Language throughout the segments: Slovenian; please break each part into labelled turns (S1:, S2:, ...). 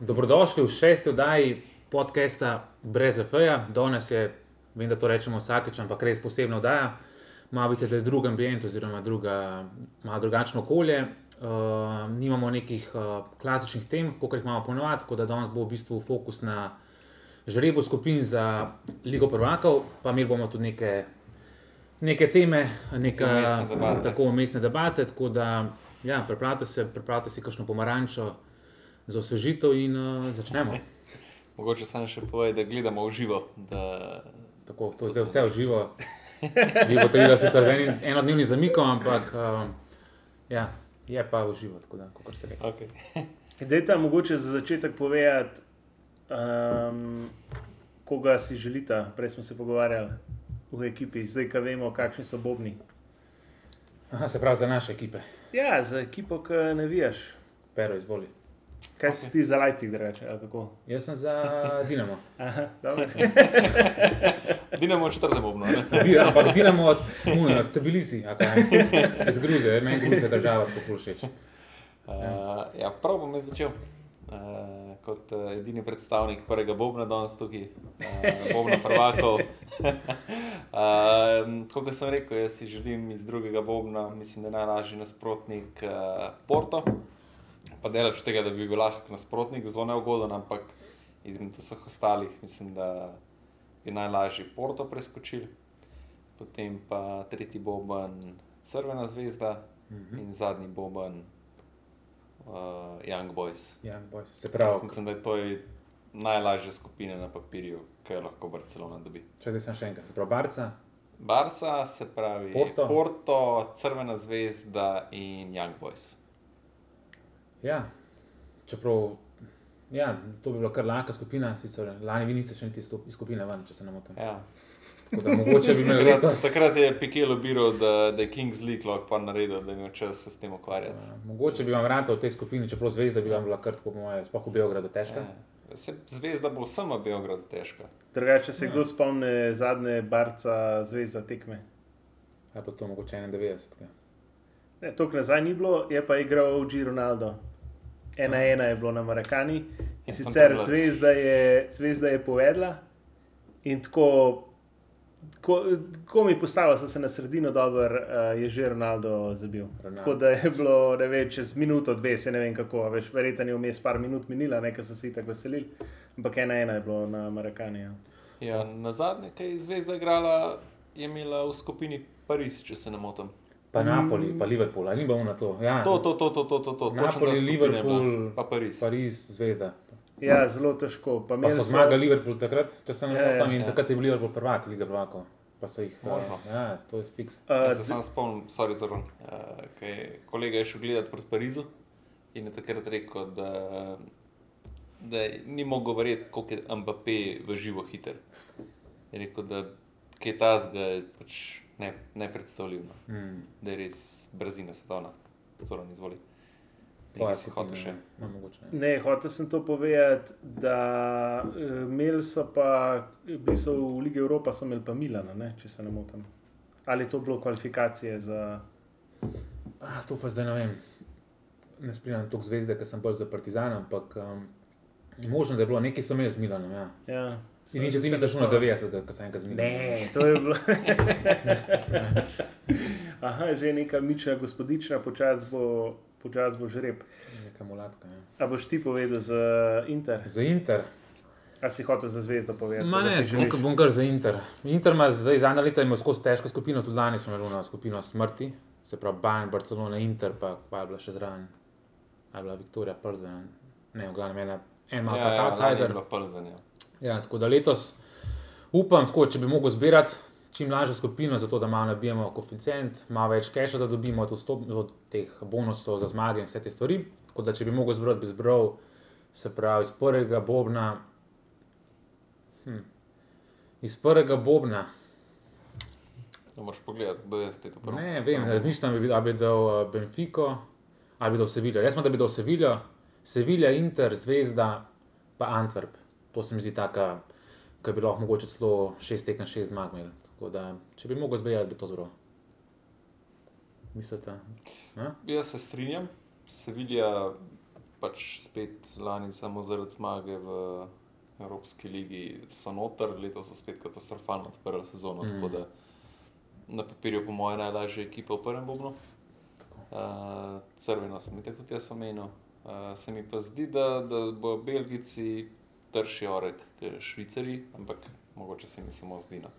S1: Dobrodošli v šesti oddaji podcasta Brez Afeja. Danes je, vem, da to rečemo vsakeč, ampak res posebna oddaja. Malo vidite, da je drug ambient, oziroma druga, malo drugačno okolje. Uh, nimamo nekih uh, klasičnih tem, kot jih imamo ponovadi, tako da danes bo v bistvu fokus na žrebo skupin za Ligo Prvakov, pa imeli bomo tudi neke, neke teme, neka,
S2: vmesne debate.
S1: tako umestne debate. Tako da, ja, pripravite se, pripravite si kakšno pomarančo za osvežitev in uh, začnemo.
S2: Mogoče samo še povej, da gledamo v živo. Da...
S1: Tako, to je zdaj vse v živo. Vi boste videli, da se zdaj en, enodnevni zamikom, ampak uh, ja, je pa v živo, tako da, kot se reče.
S2: Okay.
S3: Dajte mogoče za začetek povedati, um, koga si želite. Prej smo se pogovarjali v ekipi, zdaj ka vemo, kakšni so bobni.
S1: Aha, se pravi za naše ekipe.
S3: Ja, za ekipo, ki ne vijaš.
S1: Pero, izvoli.
S3: Kaj okay. si ti za Leipzig, da rečeš?
S1: Jaz sem za Dinamo.
S2: Dinamo v četrtem obno.
S1: Di, ampak Dinamo od Muna, od Tbilisi, a kaj. iz Gruzije, meni Gruzija država tako všeč.
S2: Uh, ja, prav bom jaz začel. Uh, kot uh, edini predstavnik prvega Bobna danes tukaj, uh, Bobna prvakov. uh, kot sem rekel, jaz si želim iz drugega Bobna, mislim, da je najlažji nasprotnik uh, Porto. Pa delač tega, da bi bil lahek nasprotnik, zelo neugoden, ampak izmed vseh ostalih mislim, da bi najlažje Porto preskočil. Potem pa tretji Boben, Crvena zvezda
S1: Mhm.
S2: in zadnji Boben, uh, Young Boys.
S1: Ja, boys. se
S2: Jaz
S1: pravi,
S2: mislim, da je to je najlažja skupina na papirju, ki jo lahko Barcelona dobi.
S1: če zdaj sem še enkrat, se pravi Barca,
S2: Barca, se pravi
S1: Porto.
S2: Porto Crvena zvezda in Young Boys.
S1: Ja, čeprav ja, to bi bila kar lahka skupina, sicer lani vi niste še niti stop- iz skupine ven, če se ne motim.
S2: Ja.
S1: Tako da mogoče bi imeli
S2: Takrat,
S1: letos.
S2: takrat je Pikel obiral, da, da je Kings League lahko pa naredil, da je imel čas se s tem ukvarjati.
S1: Ja, Mogoče bi vam rata v tej skupini, čeprav zvezda bi vam bila kar tako, po moje, sploh v Beogradu težka.
S2: Ja. Se, zvezda bo vsem v Beogradu težka.
S3: Drugače, če se kdo spomne zadnje barca zvezda tekme.
S1: Ali Ja, pa to mogoče ja. 91.
S3: Ne, Tok nazaj ni bilo, je pa igral OG Ronaldo. Ena ena je bilo na Marakani in
S2: Ja, sem
S3: sicer
S2: pogledal.
S3: zvezda je, zvezda je povedla in tako, ko, ko mi postava so se na sredino dobro, uh, je že Ronaldo zabil.
S1: Ronaldo.
S3: Tako da je bilo, ne vem, čez minuto, dve, se ne vem kako, a veš, verjetno je vmes par minut minila, nekaj so se itak veselili, ampak ena ena je bilo na Marakani. Ja.
S2: Ja, na zadnje, kaj je zvezda igrala, je imela v skupini Pariz, če se ne motim.
S1: Pa Napoli, pa Liverpool, ali ni bomo na to. Ja,
S2: To, to, to, to, to, to, to. točno ta
S1: Napoli,
S2: skupina je bila.
S1: Liverpool,
S2: pa Pariz.
S1: Pariz, zvezda.
S3: ja, zelo težko. Pa
S1: No. Pa
S3: imeli
S1: so zmagali Liverpool takrat, če se ne
S3: Ja, ja,
S1: motim, in
S2: ja.
S1: takrat je bil Liverpool prvak, Liga prvakov. Pa so jih.
S2: Možno.
S1: Ja, to je fiks.
S2: Jaz
S3: Uh,
S2: se sam spomnim, sorry, Zoran, uh, ko je kolega je šel gledati proti Parizu in je takrat rekel, da, da ni mogel verjeti, koliko je Mbappé v živo hiter. Je rekel, da kaj tasga je pač ne, ne predstavljivo,
S1: Mm.
S2: da je res brzina svetovna. Zoran, izvoli.
S1: Tvoja
S2: Nekaj si
S1: skupina,
S2: hotel še.
S1: ja, mogoče, ja.
S3: Ne, hotel sem to povedati, da eh, imeli so pa, bili so v Ligi Evropa, so imeli pa Milana, ne, če se ne motim. Ali je to bilo kvalifikacije za.
S1: Ah, to pa zdaj ne vem. Ne spremljam toliko zvezde, ker sem bolj za Partizan, ampak um, možno da je bilo nekaj, so imeli z Milanom. Ja.
S3: Ja,
S1: In če ti ne znaš na 90, ko sem enkrat z Milanom.
S3: Ne, to je bilo. Aha, že neka mična gospodična, počasi bo, počas bo žreb.
S1: Neka mulatka. Ja.
S3: A boš ti povedal za Inter?
S1: Za Inter.
S3: A si hotel za zvezdo povedati?
S1: Ma
S3: Ja, da
S1: ne,
S3: si
S1: bom,
S3: želiš?
S1: bom kar za Inter. Inter ima zdaj zadnja leta imel skozi težko skupino, tudi lani smo imeli ono skupino smrti, se pravi Bajen, Barcelona, Inter, pa kva je bila še zraven, a je bila Viktorija, Przen, ne, v glavnem ena, en malo ja,
S2: lani je
S1: outsider.
S2: bila Plzen, ja.
S1: Ja, tako da letos upam, tako, če bi mogel zbirati čim lažjo skupino, zato da malo nabijemo koeficient, malo več keša, da dobimo od, vstop, od teh bonusov za zmage in vse te stvari. Tako da če bi mogel zbrati, bi zbral, se pravi, iz prvega bobna. Hm, iz prvega bobna.
S2: Ne moreš pogledati, kdo je spet v prvem.
S1: Ne vem, razmišljam, ali bi, ali bi dal eh, Benfico, ali bi dal Seviljo. Resmo, da bi dal Seviljo, Sevilja, Inter, Zvezda, pa Antwerp. To se mi zdi taka, ki bi lahko mogoče celo šest tekem, šest zmag imeli. Tako da, če bi mogel zbirati, bi to zbral. Mislite? a?
S2: Jaz se strinjam, Sevilja pač spet lani samo zaradi zmage v Evropski ligi so noter, letos so spet katastrofalno odprli sezono. Mm. Tako da na papirju, po mojem, najlažja ekipa v prvem bobnu. Uh, crveno sem jih tudi jaz omenil. Uh, se mi pa zdi, da, da bodo Belgijci trši orek, kot Švicari, ampak mogoče se mi samo zdi. No.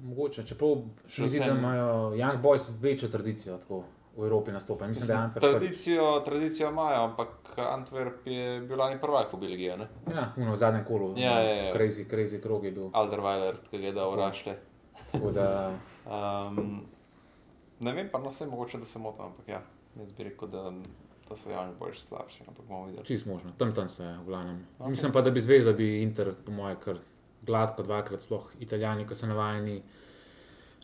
S1: Mogoče, čeprav se mi zdi, da
S2: Vsem-
S1: imajo Young Boys večjo tradicijo tako, v Evropi nastopajo. Mislim, da je Antwerp. prvič.
S2: Tradicijo, tradicijo imajo, ampak Antwerp je bil lani prvak v Belgiji, ne?
S1: Ja, uno, v zadnjem kolu.
S2: Ja, ja, ja.
S1: Crazy, crazy krog je bil.
S2: Alderweiler, ki ga je dal rašle.
S1: Tako da,
S2: Um, ne vem, pa no, vse mogoče, da se motim, ampak ja, jaz bi rekel, da, da so javni boljši slabši, ampak bomo videli.
S1: čist možno, tam tam se, v glavnem. Mislim pa, da bi zvezda, bi Inter, po mojem, kar gladko dvakrat, sploh Italijani, ki so navajeni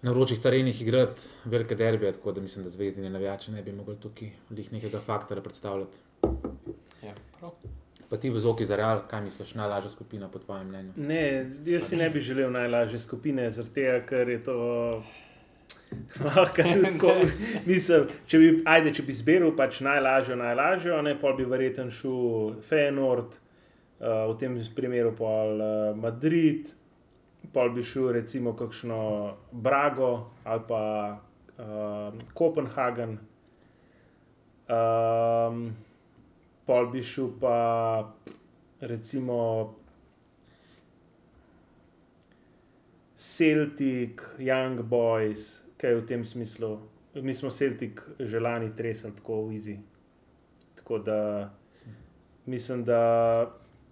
S1: na vročih terenih igrati velike derbije, tako da mislim, da zvezdine navijače ne bi mogli tukaj lih nekega faktora predstavljati.
S2: Ja, prav.
S1: Pa ti v zoki za real, kaj misliš, najlažja skupina po tvojem mnenju?
S3: Ne, jaz si ne bi želel najlažje skupine, zaradi tega, ker je to. Lahko tudi tako, mislim, če bi, ajde, če bi izbiral pač najlažjo, najlažjo, ne, pol bi verjeten šel Feyenoord, uh, v tem primeru pol uh, Madrid, pol bi šel recimo kakšno Brago ali pa uh, Kopenhagen, um, pol bi šel pa recimo Celtic, Young Boys, kaj v tem smislu. Mi smo Celtic že lani tresli tako v Izi. Tako da mislim, da,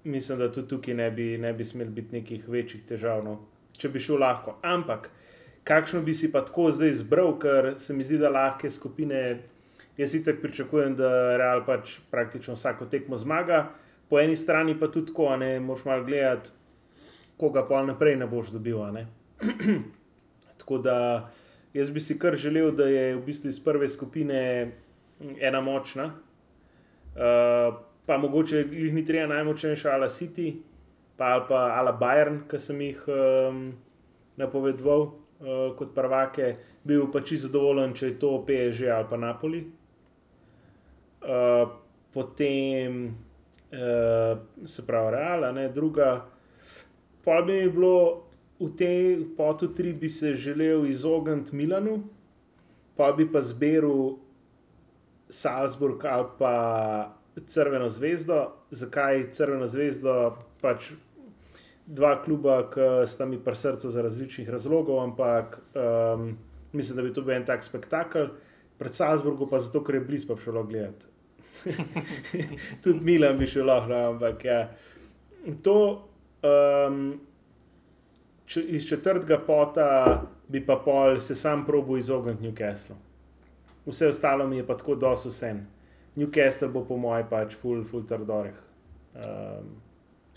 S3: mislim, da tudi tukaj ne bi, ne bi smel biti nekih večjih težav, no. če bi šel lahko. Ampak kakšno bi si pa tako zdaj izbral, ker se mi zdi, da lahke skupine. Jaz si tako pričakujem, da Real pač praktično vsako tekmo zmaga, po eni strani pa tudi tako, a ne moš malo gledati, koga pa naprej ne boš dobil. a Ne? Tako da jaz bi si kar želel, da je v bistvu iz prve skupine ena močna, uh, pa mogoče jih ni treba najmočnejša, ala City, pa ali pa ala Bayern, ki sem jih um, napovedoval uh, kot prvake, bil pa čisto zadovoljen, če je to PSG ali pa Napoli. Uh, potem uh, se pravi Real, a ne druga. Pa bi mi bilo v tej potu 3 bi se želel izogniti Milanu, pa bi pa zbiral Salzburg ali pa Crveno zvezdo. Zakaj Crveno zvezdo? Pač dva kluba, ki sta mi pri srcu za različnih razlogov, ampak um, mislim, da bi to bil en tak spektakel. Pred Salzburgom pa zato, ker je blizu, pa bi šlo gledati. Tudi Milan bi šel lahko, no, ampak ja. To um, če, iz četrtega pota bi pa pol se sam probo izogniti Newcastle. Vse ostalo mi je pa tako dosto vsem. Newcastle bo po mojem pač full, full trdoreh. Um,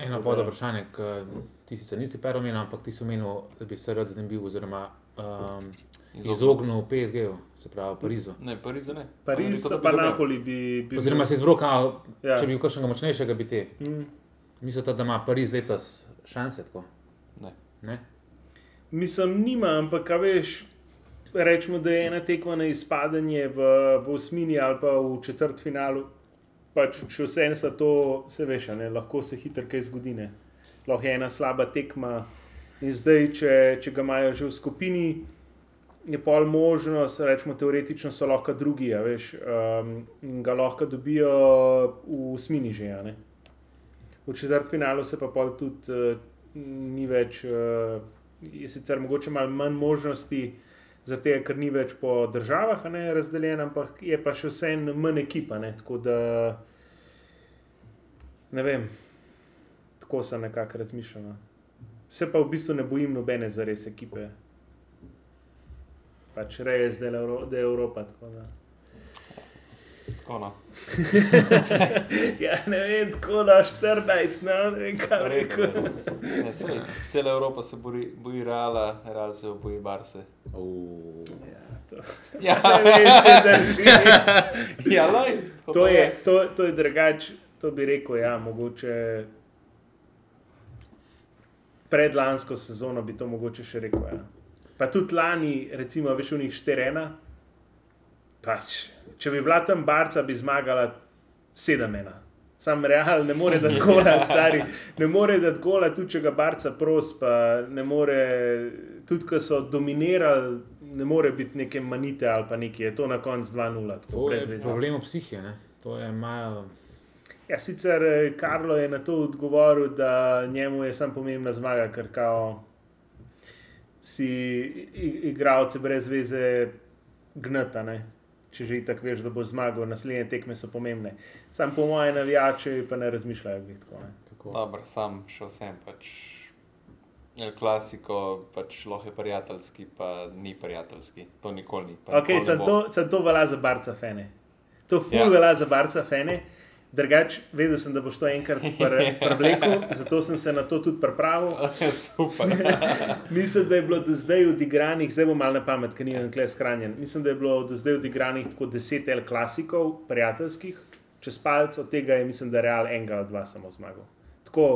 S1: Eno vodo vprašanje, ki ti sicer nisi per omenil, ampak ti si omenil, da bi se rad znebil oziroma um,
S2: Izognil. Mm.
S1: izognil PSG-ju, se pravi Parizu.
S2: Ne, Pariz ne.
S3: Pariz,
S2: Veliko
S3: pa
S2: dobil.
S3: Napoli bi bil.
S1: Oziroma se izbrokal, ja.
S3: Ja.
S1: če bi bil kakšnega močnejšega, bi te.
S3: Mm.
S1: Mislite, da ima Pariz letos šanse tako?
S2: Ne.
S1: Ne?
S3: Mislim, nima, ampak a veš, rečemo, da je ena tekma na izpadanje v, v osmini ali pa v četrtfinalu. Pač še vse en sa to, se veš, a ne, lahko se hitro kaj zgodi. ne. Lahko je ena slaba tekma in zdaj, če, če ga imajo že v skupini, je pol možnost, rečemo teoretično so lahko drugi, a veš, um, in ga lahko dobijo v osmini že. a ne. V četrtfinalu se pa pol tudi uh, ni več, uh, je sicer mogoče malo manj možnosti, zaradi tega, ker ni več po državah a ne, razdeljen, ampak je pa še vseeno manj ekipa. Ne, tako da ne vem, tako sem nekako razmišljal. no. Se pa v bistvu ne bojim nobene za res ekipe. Pač reje zdaj, le Evro- da je Evropa. tako Da.
S2: Tako, no.
S3: Ja, ne vem, tako na 14, no, ne vem, kaj bi rekel.
S2: Ne, sej, cela Evropa se boji, boji Reala, Real se boji Barse.
S1: Uh,
S3: Ja, to,
S2: Ja,
S3: ne vem, če drži.
S2: ja laj, tako
S3: To je, to, to je drugače, to bi rekel, ja, mogoče. Predlansko sezono bi to mogoče še rekel. Ja. Pa tudi lani, recimo, veš, v njih šterena. Pač, če bi bila tam barca, bi zmagala sedem ena. Sam real ne more dati gola, stari. Ne more dati gola, tudi če ga barca pros, pa ne more, tudi ko so dominirali, ne more biti neke manite ali pa nekaj. Je to na koncu 2-0. tako,
S1: To
S3: brez
S1: je
S3: veze.
S1: problem psihije, ne? To je malo.
S3: Ja, sicer eh, Karlo je na to odgovoril, da njemu je samo pomembna zmaga, ker kao si i- i- igralce brez veze gnata. Ne? Če že tako veš, da bo zmagal, naslednje tekme so pomembne. Sam po mojem navijače pa ne razmišljajo glih tako. Ne?
S1: Tako.
S2: Dobro, sam še vsem pač. El klasiko, pač lahko je prijateljski, pa ni prijateljski. To nikoli ni. pa nikoli
S3: Okay,
S2: ne
S3: sem
S2: bo.
S3: to, sem to velja za barca fene. To ful
S2: Ja.
S3: ja. velja za barca fene. Drugač, vedel sem, da boš to enkrat pr- prevlekel, zato sem se na to tudi pripravil.
S2: Super.
S3: Mislim, da je bilo do zdaj odigranih, zdaj bom malo na pamet, ker nisem tukaj skranjen. Mislim, da je bilo do zdaj odigranih tako deset L klasikov, prijateljskih, čez palce od tega je, mislim, da Real enega od dva samo zmagal. Tako,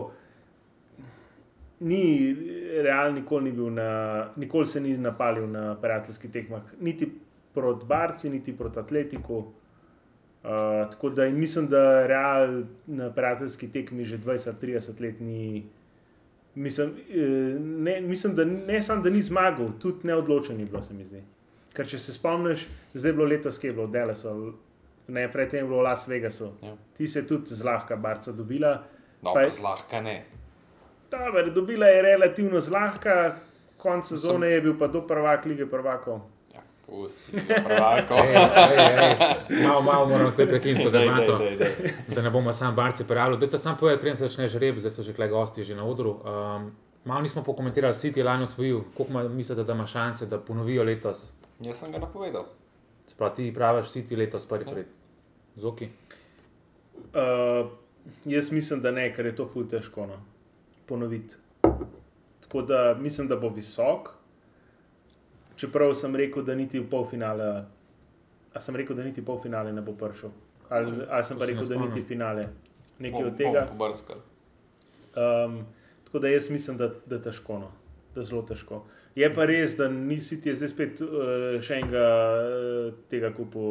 S3: ni, Real nikoli, ni bil na, nikoli se ni napalil na prijateljskih tekmah, niti proti Barci, niti proti Atletiku. Uh, tako da in mislim, da Real na prijateljski tekmi že 20-30 let ni. Mislim, eh, ne, mislim, da ne samo, da ni zmagal, tudi neodločen je bilo, se mi zdi. Ker če se spomniš, zdaj je bilo letos, ki je bilo v Dallasu, ne, predtem je bilo v Las Vegasu.
S2: Ja.
S3: Ti se je tudi zlahka barca dobila. Pa-
S2: Dobro, zlahka ne.
S3: Dobar, dobila je relativno zlahka, konc sezone je bil pa do prvak lige prvakov.
S2: Ja, pusti, pravako.
S1: Ej, ej, ej. Malo, malo moram zdaj prekiniti to debato,
S2: daj, daj.
S1: da ne bomo sam barci prijavljali. Dajte sam povedati, preden se začne žreb, zdaj so že kle gosti že na odru. Um, malo nismo pokomentirali, City je lani odsvojil, koliko ma- mislite, da ima šanse, da ponovijo letos.
S2: Jaz sem ga napovedal.
S1: Sprav ti praviš City letos prvi. Zoki.
S3: Uh, jaz mislim, da ne, ker je to ful težko no. ponoviti. Tako da mislim, da bo visok. Čeprav sem rekel, da niti v polfinale, a sem rekel, da niti v polfinale ne bo prišel. Ali, ali sem
S1: To
S3: pa
S1: se ne
S3: rekel, da
S1: spomnim.
S3: niti finale. Nekaj
S2: Bom-
S3: od tega.
S2: bom Pobrskal.
S3: Um, tako da jaz mislim, da je težko. No. Da je zelo težko. Je pa res, da nisi ti zdaj spet uh, še enega uh, tega kupu,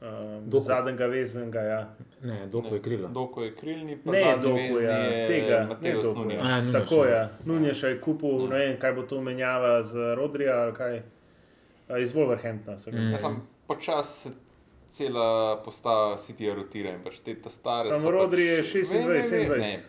S3: um,
S1: Dokov.
S3: zadnjega veznega. Ja.
S1: Ne, doko je krilo.
S2: Doko je krilni, pa
S3: Ne,
S2: zadnji
S3: Doku,
S2: vezni
S3: ja,
S2: je
S3: tega, ne
S2: Mateo
S3: Doku,
S2: Snunja.
S1: ja. A, Nunješa.
S3: Tako je, Nunja še je
S2: No.
S3: kupil, ne vem, kaj bo to menjava z Rodrija ali kaj. A, Iz Wolverhamptona. so ga
S1: Mm.
S2: Ja,
S3: kupili.
S2: sam počasi se cela postava City rotira in pač te ta stare.
S3: Samo
S2: so
S3: Rodri je
S2: pač...
S3: 26,
S2: Ne, ne, ne,
S3: 27.
S2: ne.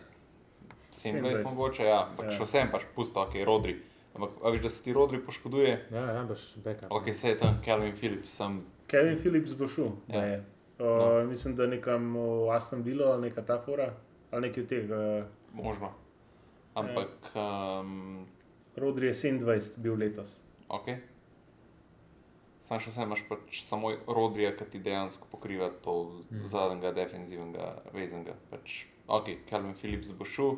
S2: 27
S3: 27.
S2: mogoče, ja, pač
S3: Ja.
S2: še vsem pač pusto, ok, Rodri. Ampak a veš, da se ti Rodri poškoduje,
S1: Ja, rabiš backup.
S2: ok, se je tam Calvin Phillips, sem
S3: Kevin Phillips bo šel.
S2: Ja.
S3: Ja. Uh, mislim, da nekam v Aston Villa ali neka ta fora ali nekaj od tega.
S2: možno. Ampak, um,
S3: Rodri je 27 bil letos.
S2: ok. Sam še vsem imaš pač samo Rodrija, ki ti dejansko pokriva to
S1: Mhm.
S2: mm. zadnjega defenzivnega vezenga. Pač, ok, Calvin Phillips bo šel.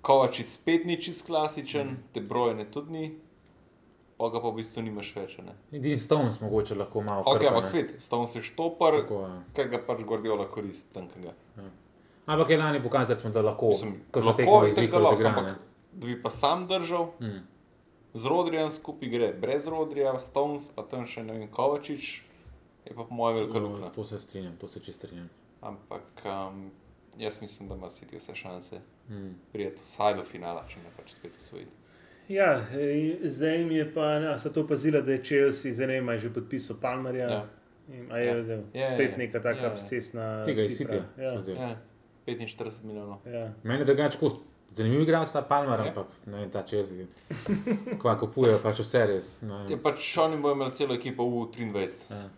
S2: Kovačič spet ni čist klasičen,
S1: Mhm.
S2: mm. te brojne tudi ni, pa ga pa v bistvu nimaš več. a Ne?
S1: Edini Stones mogoče lahko malo.
S2: Ok,
S1: krpa,
S2: ampak
S1: ne.
S2: spet, stovn si štopar,
S1: Tako, ja.
S2: ki ga pač Gordiola koristi, tankega.
S1: Ampak je lani pokazal, račun, da lahko.
S2: Mislim,
S1: Kakšno tekmo
S2: lahko je
S1: izvihal,
S2: tako,
S1: da
S2: lahko,
S1: igra. ne.
S2: ampak da bi pa sam držal,
S1: Mm.
S2: z Rodrijem skupaj gre, brez Rodrija, Stones, pa tam še ne vem, Kovačič, je pa po mojem velika luknja.
S1: To se strinjam, to se čisto strinjam.
S2: Ampak um, jaz mislim, da ima City vse šanse
S1: Mm.
S2: prijeti vsaj do finala, če ne pač spet usvojiti.
S3: Ja, eh, zdaj jim je pa, a so to opazili, da je Chelsea, zdaj ne vem, a je že podpisal Palmerja.
S2: Ja.
S3: Ja. A je
S2: Ja.
S3: vzel,
S2: Ja, ja,
S3: spet
S2: ja.
S3: neka taka
S2: Ja, ja.
S3: obsesna.
S1: Tega iz
S3: cifra.
S1: Citya.
S3: Ja.
S1: sem vzel.
S2: Ja, 45 milijonov.
S3: Ja.
S1: Meni je drugače kot zanimiv igralec, ta Palmer,
S2: Ja.
S1: ampak ne ta Chelsea. Kva kupujejo, pač vse res. ne
S2: Je
S1: vem.
S2: pač oni bojo imeli celo ekipo v 23.
S1: Ja.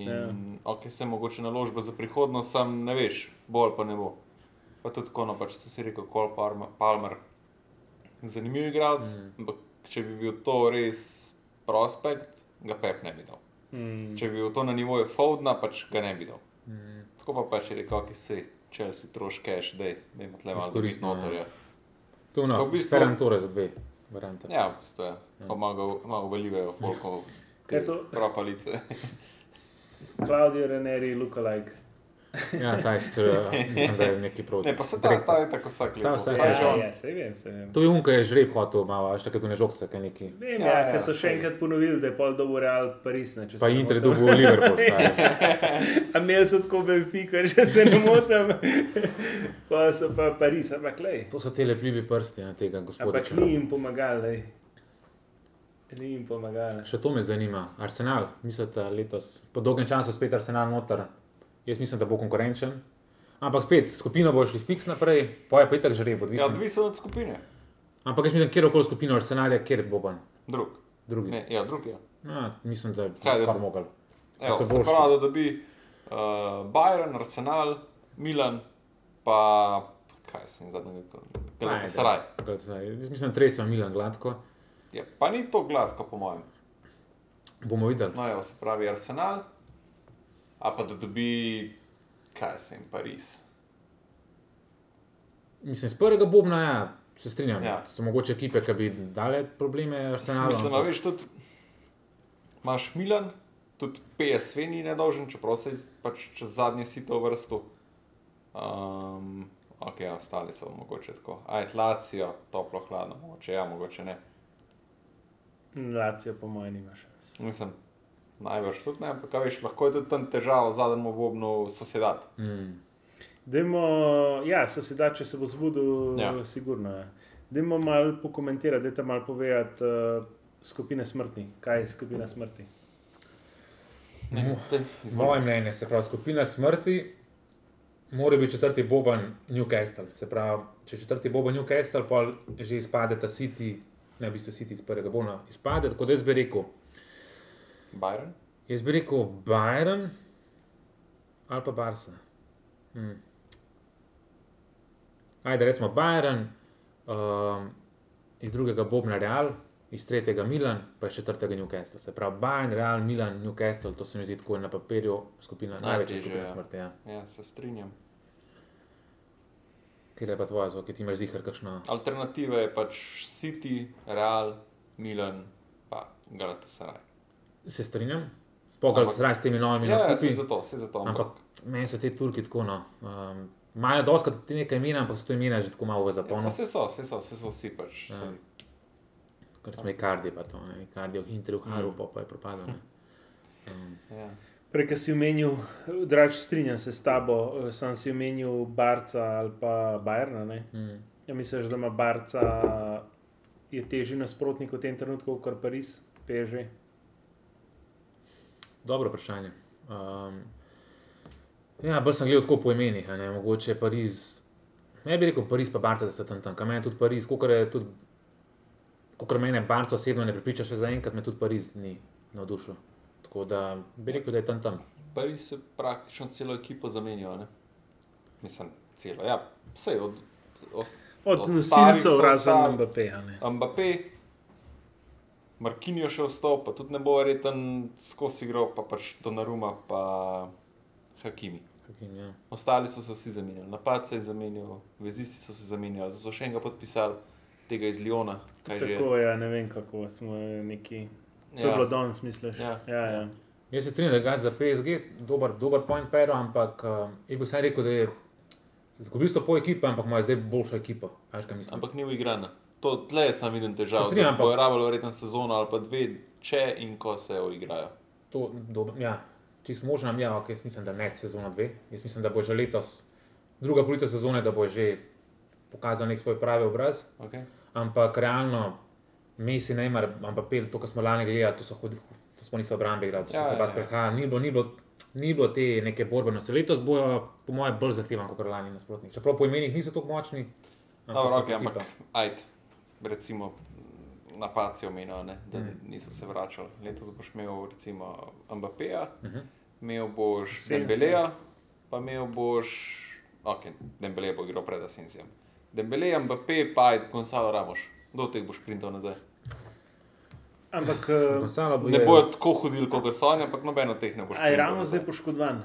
S2: In
S3: Ja.
S2: ok, se mogoče naložba za prihodnost, sam ne veš, bolj pa ne bo. Pa tudi tako, no, pač se si rekel, Kol Palmer, Palmer. zanimiv igralec, mm. ampak če bi bil to res prospekt, ga Pep ne bi dal.
S3: Mm.
S2: Če bi bil to na nivoju Fowdna, pač ga ne bi dal. Mm. Tako pa pač je rekel, ok, se če si troš cash, dej, da ima tle malo ja."
S1: Izkoristimo,
S2: korist notorja.
S1: Tu na
S2: Pa v bistvu-
S1: no, Ferran Torres za dve variante.
S2: Ja, v bistvu je. Ja. Pomagal, malo velivajo, folkov,
S3: Kaj to?
S2: propalice.
S3: Klaudijo Reneri, lookalike.
S1: Ja, ta je sicer, eh, mislim, da je neki proti.
S2: Ne, pa se ta, ta je tako vsak leto.
S1: vsak
S2: Ta je
S1: leto.
S2: že on.
S3: ja, saj vem, saj vem.
S1: To je unka je žreb hotel, malo, a še kaj tu ne žogca, kaj neki.
S3: Vem,
S2: Ja,
S3: ja,
S2: ja,
S3: ker so še
S2: saj.
S3: enkrat ponovili, da je pol dobo Real Paris. Ne, če
S1: Pa
S3: se ne
S1: Inter je
S3: motim.
S1: dobil Liverpool. stari.
S3: A imeli so tako Benfica, če se ne motim. pa so pa Pariz, ampak lej.
S1: To so te lepljivi prsti na tega gospoda.
S3: Ampak ni jim pomagal, lej. Ni jim pomagal.
S1: Še to me zanima. Arsenal, mislite letos, po dolgem času spet Arsenal noter. Jaz mislim, da bo konkurenčen. Ampak spet, skupino boš šli fiks naprej, poje pa itak žreb,
S2: Ja,
S1: odvisno.
S2: odvisno od skupine.
S1: Ampak jaz mislim, kjer okoli skupino Arsenalja, kjer bo ban.
S2: Drug.
S1: Drugi.
S2: Ne, ja, drug je.
S1: Ja, mislim, da bo
S2: Kaj je?
S1: skoraj mogel.
S2: Evo,
S1: Da so
S2: se
S1: boljši.
S2: pravi, da dobi uh, Bayern, Arsenal, Milan, pa kaj sem zadnji rekel, Galatasaray.
S1: Galatasaray. Jaz mislim, da tresem Milan gladko.
S2: Ja, pa ni to gladko, po mojem.
S1: Bomo videli.
S2: No, evo, se pravi Arsenal, a pa da dobi, kaj sem, Pariz.
S1: Mislim, z prvega bobna, ja, se strinjam.
S2: Ja.
S1: Ja. So mogoče ekipe, ki bi dale probleme Arsenalu.
S2: Mislim, da
S1: ampak-
S2: veš, tudi imaš Milan, tudi PSV ni nedolžen, čeprav se je pač čez zadnje sito vrsto. Um, ok, ja, ostali so mogoče tako. Aj, Lacijo, toplo, hladno, mogoče ja, mogoče ne.
S3: Lacijo, po mojem, nima šans.
S2: Mislim, najbrž tudi ne, ampak a veš, lahko je tudi tam težava v zadnjem obobnu sosedat.
S1: Mm.
S3: Dajmo, ja, so si da, če se bo zbudil,
S2: Ja.
S3: ja. sigurno je. Dajmo malo pokomentirati, da te malo povedati uh, skupine smrti. Kaj je skupina smrti?
S1: Mm.
S2: te,
S1: Z moje mnenje, se pravi, skupina smrti mora biti četrti boban Newcastle. Se pravi, če je četrti boban Newcastle, pa že izpade ta City, ne v bistvu City iz prvega bona, izpade. Tako da jaz bi rekel,
S2: Bayern.
S1: jaz bi rekel Bayern ali pa Barca. Mm. Ajde, recimo Bayern, um, iz drugega Bobna Real, iz tretjega Milan, pa iz četrtega Newcastle. Se pravi, Bayern, Real, Milan, Newcastle, to se mi zdi tako na papirju skupina, največja
S2: Najtežje,
S1: skupina
S2: ja.
S1: smrti. Ja.
S2: Ja, se strinjam.
S1: Kaj je pa tvoje, zvok, ti imaš zihar kakšno?
S2: Alternativa je pač City, Real, Milan, pa Galatasaray.
S1: Se strinjam, spogal
S2: Ampak-
S1: se s temi novimi
S2: Ja, ja, se
S1: nakupi.
S2: zato, se zato.
S1: Ampak meni so ti Turki tako no. Um, Imajo doskrat ti nekaj imena, ampak so to imena že tako malo v zaponu.
S2: Ja, vse so, vse so, vse so vsi pač.
S1: no. Ja.
S2: Ja.
S1: Kot smo Icardi, pa to, ne, Icardi v Interju, Haru, pa, pa je propadel. ne.
S2: Ja.
S3: Prekaj si omenil, draž strinjam se s tabo, eh, sam si omenil Barca ali pa Bajerna. Ne?
S1: Mm.
S3: Ja, misliš, da ima Barca je težji nasprotnik v tem trenutku kot Pariz, PŽ?
S1: Dobro vprašanje. Um, ja, bolj sem gledal tako po imenih, a ne, mogoče Pariz. Ne bi rekel Pariz, pa Barca, da se tam tam. Kaj meni tudi Pariz, kot je tudi. Kot mene Barca osebno ne pripriča, še zaenkrat me tudi Pariz ni navdušil. Tako da bi rekel, da je tam tam.
S2: Prvi so praktično celo ekipo zamenjali. ne? Mislim, celo. Ja, vse od. od,
S3: Od
S2: odstavili
S3: nosilcev
S2: so
S3: razen
S2: ostali.
S3: MBP. a ne.
S2: Mbappé, Markinijo še ostal, pa tudi ne bo verjeten skozi igro, pa pač Donaruma, pa Hakimi.
S1: Hakim, ja.
S2: Ostali so se vsi zamenjali, napad se je zamenjal, vezisti so se zamenjali, zato so še enega podpisali, tega iz Liona, kaj že
S3: Tako je, ja, ne vem kako smo neki. To je
S2: Ja.
S3: bilo danes, misliš?
S2: Ja.
S3: ja, ja.
S1: Jaz se strinjam, da je Gant za PSG dober, dober point pero, ampak um, je bil sam rekel, da je izgubil so pol ekipe, ampak ima zdaj boljšo ekipo. Veš, kaj mislim?
S2: ampak ni uigrana. To tle sem videl težavo.
S1: Se strinjam, ampak-
S2: Bo je rabilo verjetno sezono ali pa dve, če in ko se uigrajo.
S1: To, do, ja, čist možno, ja, ok, jaz mislim, da ne sezona dve. Jaz mislim, da bo že letos, druga polovica sezone, da bo že pokazal nek svoj pravi obraz.
S2: Okay?
S1: Ampak realno, Messi, Neymar, Mbappé, to, kar smo lani gledali, to so hodili, to smo niso obrambe igrali, to so
S2: Ja,
S1: ja, se
S2: ja,
S1: pač
S2: ja.
S1: prehajali, ni bilo, ni bilo. Ni bilo te neke borbenosti. Letos bojo, po mojem, bolj zahteven kot lani nasprotnik. Čeprav po imenih niso tako močni.
S2: Dobro,
S1: ekipa.
S2: okay, ampak ajd, recimo, napad si omenil, ne, da
S1: Mhm.
S2: mm. niso se vračali. Letos boš imel, recimo, Mbappéja, mm
S1: Mhm.
S2: -hmm. imel boš
S3: Sensi.
S2: Dembeleja, pa imel boš, ok, Dembele bo igral pred Asensijem. Dembele, Mbappé, pa ajd, Gonzalo Ramos. Do teh boš printal nazaj.
S1: Ja,
S3: Ampak eh,
S1: Gonzalo bo
S2: Ne
S1: je-
S2: bojo tako hodili kot so oni, ampak nobeno teh ne boš.
S3: A je
S2: printal
S3: ravno
S2: nazaj.
S3: zdaj poškodovan.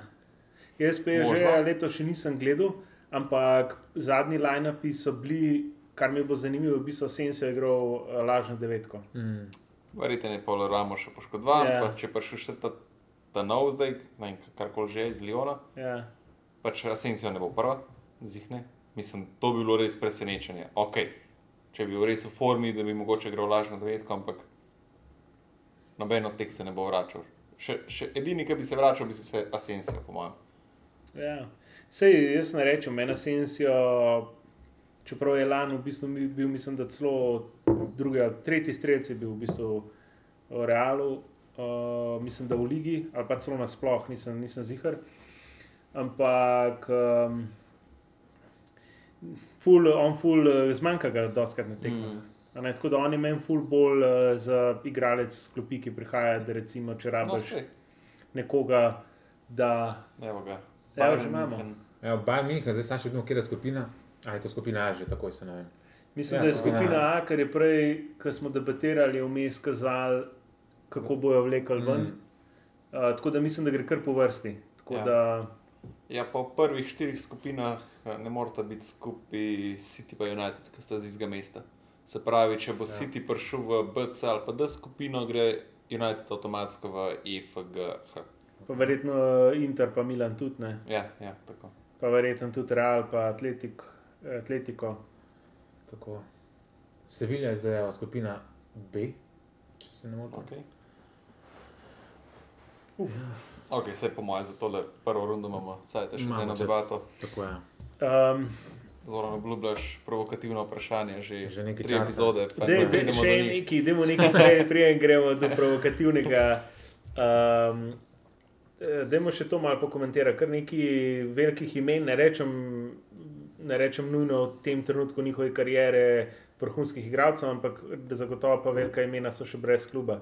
S3: Jaz pa
S2: Možno.
S3: že leto še nisem gledal, ampak zadnji line-upi so bili, kar mi bo zanimivo, v bistvu sem se igral eh, lažno devetko.
S1: Mm,
S2: Verjetno je pol Ramo še poškodovan,
S3: Ja.
S2: yeah. pa če pa še še ta, ta nov zdaj, ne vem, karkoli že iz Liona.
S3: Ja.
S2: pač Asensio ne bo prva, zihne. Mislim, to bi bilo res presenečenje. Ok, če bi bil res v formi, da bi mogoče igral lažno devetko, ampak noben od teh se ne bo vračal. Še, še edini, ki bi se vračal, bi se Asensio, po mojem.
S3: Ja. Sej, jaz ne rečem, meni Asensijo, čeprav je lani v bistvu mi- bil, mislim, da celo drugi ali tretji strelec je bil v bistvu v Realu, uh, mislim, da v Ligi ali pa celo nasploh, nisem, nisem zihar. Ampak. Um, Ful, on ful, eh, zmanjka ga doskrat na tekmah.
S2: Mm.
S3: Mm. Ne, tako da on je meni ful bolj uh, za igralec s klopi, ki prihaja, da recimo, če
S2: No,
S3: rabiš no,
S2: saj,
S3: nekoga, da
S2: evo ga.
S3: Evo, že
S2: Bayern
S3: imamo.
S2: München.
S1: Evo, Bayern München, zdaj sam še vedno, kje je skupina. A je to skupina A že, takoj se ne vem.
S3: Mislim,
S1: Ja,
S3: ja, da je
S1: skupina
S3: skupina A, ker je prej, ko smo debatirali, vmes kazali, kako bojo vlekli ven. Mm.
S1: Mm.
S3: Uh, tako da mislim, da gre kar po vrsti. Tako
S2: Mhm. Ja.
S3: ja. da,
S2: Ja, po prvih štirih skupinah eh, ne morata biti skupaj City in United, ki sta z istega mesta. Se pravi, če bo ja. City prišel v BC ali pa D skupino, gre United avtomatsko v E EFGH.
S3: pa verjetno Inter, pa Milan tudi ne,
S2: Ja, ja, tako.
S3: pa verjetno tudi Real, pa Atletik, Atletiko.
S1: Tako. Sevilja je zdaj evo, skupina B, če se ne motim.
S2: Okay. Ok, vse Ja. po mojem, za tole prvo rundo imamo, zdaj te še
S1: Imamo
S2: za eno
S1: čas.
S2: debato.
S1: Tako je.
S3: Um,
S2: Zelo obljubljaš provokativno vprašanje, že,
S1: Že nekaj
S2: tri
S1: časa.
S2: epizode, pa
S3: Dej,
S2: ne
S3: dej,
S2: pridemo
S3: še
S2: do
S3: en
S2: njih.
S3: neki, idemo neki prej, prijem gremo do provokativnega. Um, eh, Dajmo še to malo pokomentirati, ker neki velikih imen, ne rečem, ne rečem nujno v tem trenutku njihove kariere, vrhunskih igralcev, ampak zagotovo pa velika imena so še brez kluba.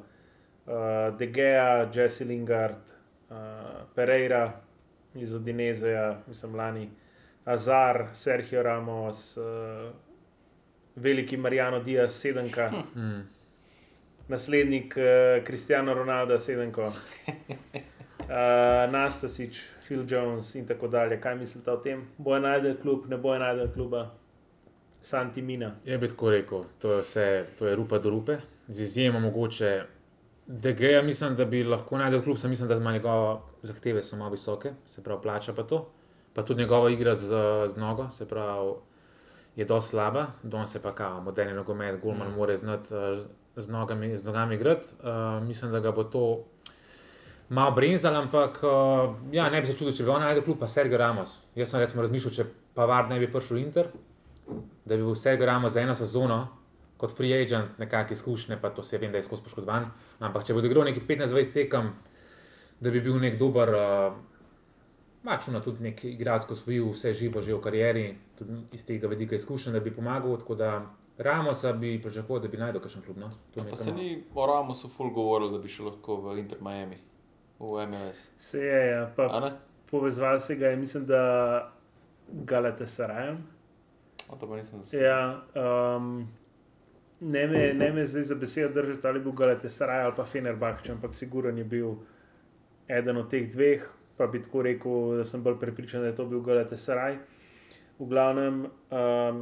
S3: Uh, Degea, Jesse Lingard, uh, Pereira iz Odinezeja, mislim lani, Azar, Sergio Ramos, uh, veliki Marijano Diaz, sedemka,
S1: Mm.
S3: naslednik uh, Kristijana Ronalda, sedemko, uh, Nastasič, eh, Phil Jones in tako dalje. Kaj mislite o tem? Boje najdel klub, ne boje najdel kluba, Santi Mina.
S1: Je bi tako rekel, to je vse, to je rupa do rupe, z izjemo mogoče. DG-ja mislim, da bi lahko najdel kljub, sem mislim, da ima njegove zahteve so malo visoke, se pravi, plača pa to. Pa tudi njegova igra z, z nogo, se pravi, je dosti slaba, don se pa kao, moderni nogomet, golman mm. more znati eh, z nogami, z nogami igrati. Uh, mislim, da ga bo to malo brenzal, ampak uh, ja, ne bi se čudil, če bi on najdel kljub, pa Sergio Ramos. Jaz sem recimo razmišljal, če Pavard ne bi prišel v Inter, da bi bil Sergio Ramos za eno sezono kot free agent, nekakšne izkušnje, pa to se vem, da je skozi poškodovan. Ampak če bo odigral neki 15-20 tekem, da bi bil nek dober, uh, mačuna tudi nek igralec, ki je osvojil vse živo že v karieri, tudi iz tega vedika izkušen, da bi pomagal. Tako da Ramosa bi pričakoval, da bi najdel kakšen klub. No? To mi je
S2: Pa se
S1: kar
S2: ni o Ramosu ful govorilo, da bi šel lahko v Inter Miami, v MLS.
S3: Se je, ja,
S2: A
S3: pa
S2: ne?
S3: povezval se ga je, mislim, da Galate Sarajem.
S2: O, to pa nisem zasledil.
S3: Ja, um, ne, me, ne me zdaj za besedo držati, ali bo Galate Saraj ali pa Fenerbahče, ampak siguren je bil eden od teh dveh. Pa bi tako rekel, da sem bolj prepričan, da je to bil Galate Saraj. V glavnem, um,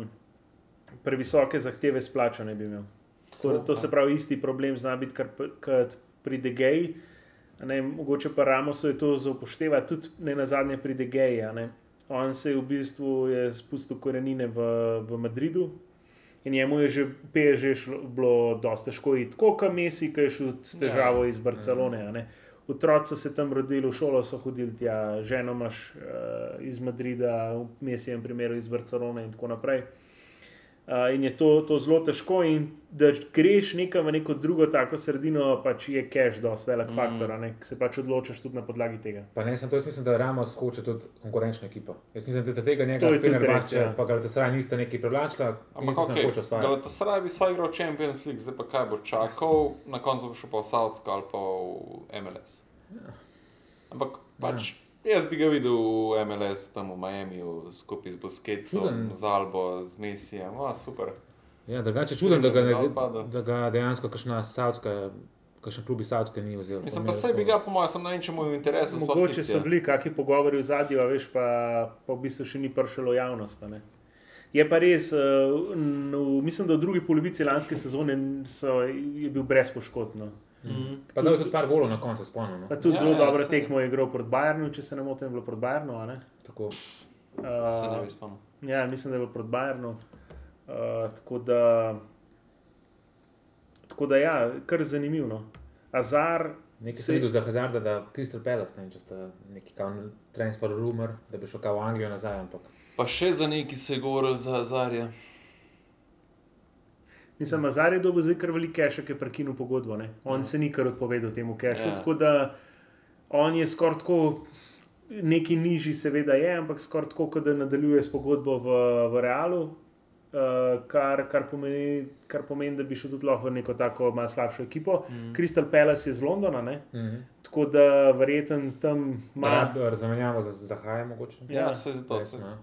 S3: previsoke zahteve splačane bi imel. Tako, da to se pravi, isti problem zna biti kar p- kot pri DG-ji. A Ne, mogoče pa Ramosu je to za upoštevati, tudi ne na zadnje pri DG-ju. On se je v bistvu je spustil korenine v, v Madridu in njemu je že PSG šlo, bilo dosta težko, iti, tako kot Messi, ki je šel s težavo iz Barcelone. a ne. Otroci so se tam rodili, v šolo so hodili tja, ženo imaš uh, iz Madrida, v Messijevem primeru iz Barcelone in tako naprej. Uh, in je to, to zelo težko, in da greš nekam v neko drugo tako sredino, pač je cache, dosti velik mm. faktor, a ne, Ke se pač odločiš tudi na podlagi tega.
S1: Pa ne, sem to, jaz mislim, da Ramos hoče tudi konkurenčno ekipo. Jaz mislim, da zaradi tega
S3: To
S1: njega
S3: je tudi res,
S1: Fenerbahče,
S3: ja.
S1: pa Galatasaray niste neki privlačila,
S2: Ampak
S1: ampak okay. hoče ostvariti.
S2: kako je, da bi saj igral Champions League, zdaj pa kaj bo čakal, na koncu bo šel pa v Saudsko ali pa v MLS.
S1: Ja.
S2: Ampak pač jaz bi ga videl v MLS, tam v Miamiju, skupaj z Busquetsom,
S1: Čuden.
S2: z Albo, z Messijem, a super.
S1: Ja, drugače čudem, da ga, ne,
S2: Dol padel.
S1: da ga dejansko kakšna savska, kakšen klub iz Savske ni vzel.
S2: Mislim pa saj bi ga, po mojem, sem na nečemu v interesu. sploh
S3: Mogoče
S2: ni,
S3: so
S2: ja.
S3: bili kakšni pogovori v zadju, a veš, pa, pa v bistvu še ni prišlo v javnost. a ne. Je pa res, eh, n- v, mislim, da v drugi polovici lanske sezone so, je bil brez poškodno.
S2: Mhm.
S1: Pa da je tudi par golov na koncu spomnil. No?
S3: Pa tudi
S2: Ja,
S3: ja, zelo
S2: ja,
S3: dobro
S2: saj.
S3: tekmo je igral proti Bajernu, če se ne motim, je bilo proti Bajernu. a ne?
S1: Tako.
S2: se ne
S3: Uh,
S2: bi spomnil.
S3: ja, mislim, da je bilo proti Bajernu. Uh, tako da, tako da ja, kar zanimivo. no. Azar,
S1: Nekaj
S3: Se-
S1: sem videl za Hazarda, da Crystal Palace, ne vem, če sta neki kao transfer rumor, da bi šel kao v Anglijo nazaj, ampak
S2: Pa še za neki se je govoril za Zarja.
S3: mislim, Azar je dobil zdaj kar velik cache, ki je prekinil pogodbo. Ne? On se ni kar odpovedal temu cache.
S2: Ja.
S3: Tako da on je skoraj tako, neki nižji, seveda je, ampak skoraj tako, kot da nadaljuje s pogodbo v, v realu. Uh, kar, kar, pomeni, kar pomeni, da bi šel tudi lahko v neko tako malo slabšo ekipo. Mm. Crystal Palace je iz Londona, ne?
S1: mhm.
S3: tako da verjeten tam ima.
S1: Rab- zamenjavo za, za Haja mogoče.
S2: Ja,
S3: Ja,
S2: se je zato. saj.
S1: Recimo, ja.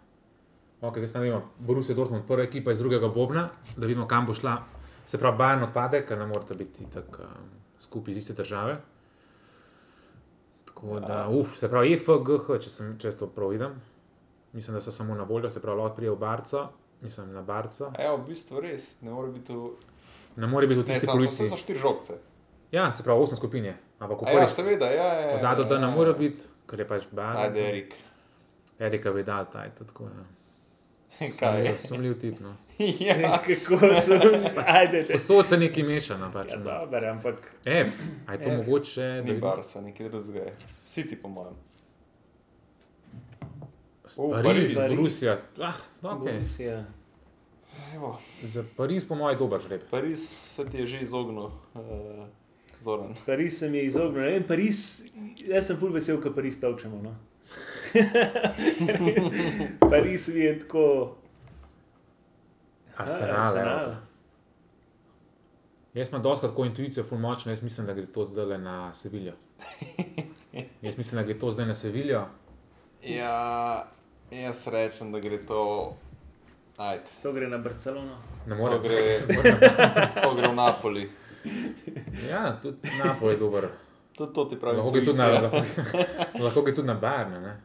S1: Okay, zdaj se vidimo, Borussia Dortmund, prva ekipa iz drugega Bobna, da vidimo, kam bo šla. Se pravi, Bayern odpade, ker ne morete biti tako um, skupaj iz iste države. Tako
S2: Ja.
S1: da, uf, se pravi, IFGH, če sem često prav vidim, mislim, da so samo na voljo, se pravi, lahko prije v Barco, mislim na Barco.
S2: A Ja, v bistvu res, ne more biti v
S1: Ne more biti v
S2: Ne,
S1: tisti
S2: samo so
S1: policiji.
S2: za štiri žogce.
S1: Ja, se pravi, osem skupin je, ampak v
S2: A Ja,
S1: prvi
S2: seveda, ja, ja. ja,
S1: Od A do D
S2: ja,
S1: ne
S2: ja.
S1: more biti, ker je pač Bayern.
S2: Ajde, Erik.
S1: Erika bi dal, ta je to tako. Ja.
S2: Kaj je?
S1: Sumljiv- Sumljiv tip. No.
S2: ja.
S3: Kako so, ajde, te.
S1: Posod se nekaj mešano. Pač,
S3: Ja,
S1: no.
S3: dober, ampak
S1: F, a je to
S3: F.
S1: mogoče, da
S2: Ni
S1: vidimo?
S2: Barca, nekaj drugega je. City, po mojem.
S1: S
S2: O,
S1: Pariz,
S3: Oh, Pariz.
S1: Rusija. Ah, okay.
S3: Borussia.
S2: Evo,
S1: Za Pariz, po mojem, dober žreb.
S2: Pariz se ti je že izognil, uh, Zoran.
S3: Pariz se mi je izognil. Ne vem, Pariz, jaz sem full vesel, ker Pariz tavčemo. No. Pariz mi je tako. "Ah,
S1: Arsenal. ja.
S3: Arsenal."
S1: evo. Jaz imam dosti tako intuicijo, ful močno, jaz mislim, da gre to zdaj na Sevilijo. Jaz mislim, da gre to zdaj na Sevilijo.
S2: Ja, jaz rečem, da gre to. Ajde.
S3: To gre na Barcelono.
S1: Ne
S2: To
S1: morem.
S2: gre,
S1: Ne morem.
S2: to gre v Napoli.
S1: Ja, tudi Napoli je dober.
S2: To, to ti pravi.
S1: Lahko gre tudi na,
S2: intuicija.
S1: lahko, lahko gre tudi na Barne, ne?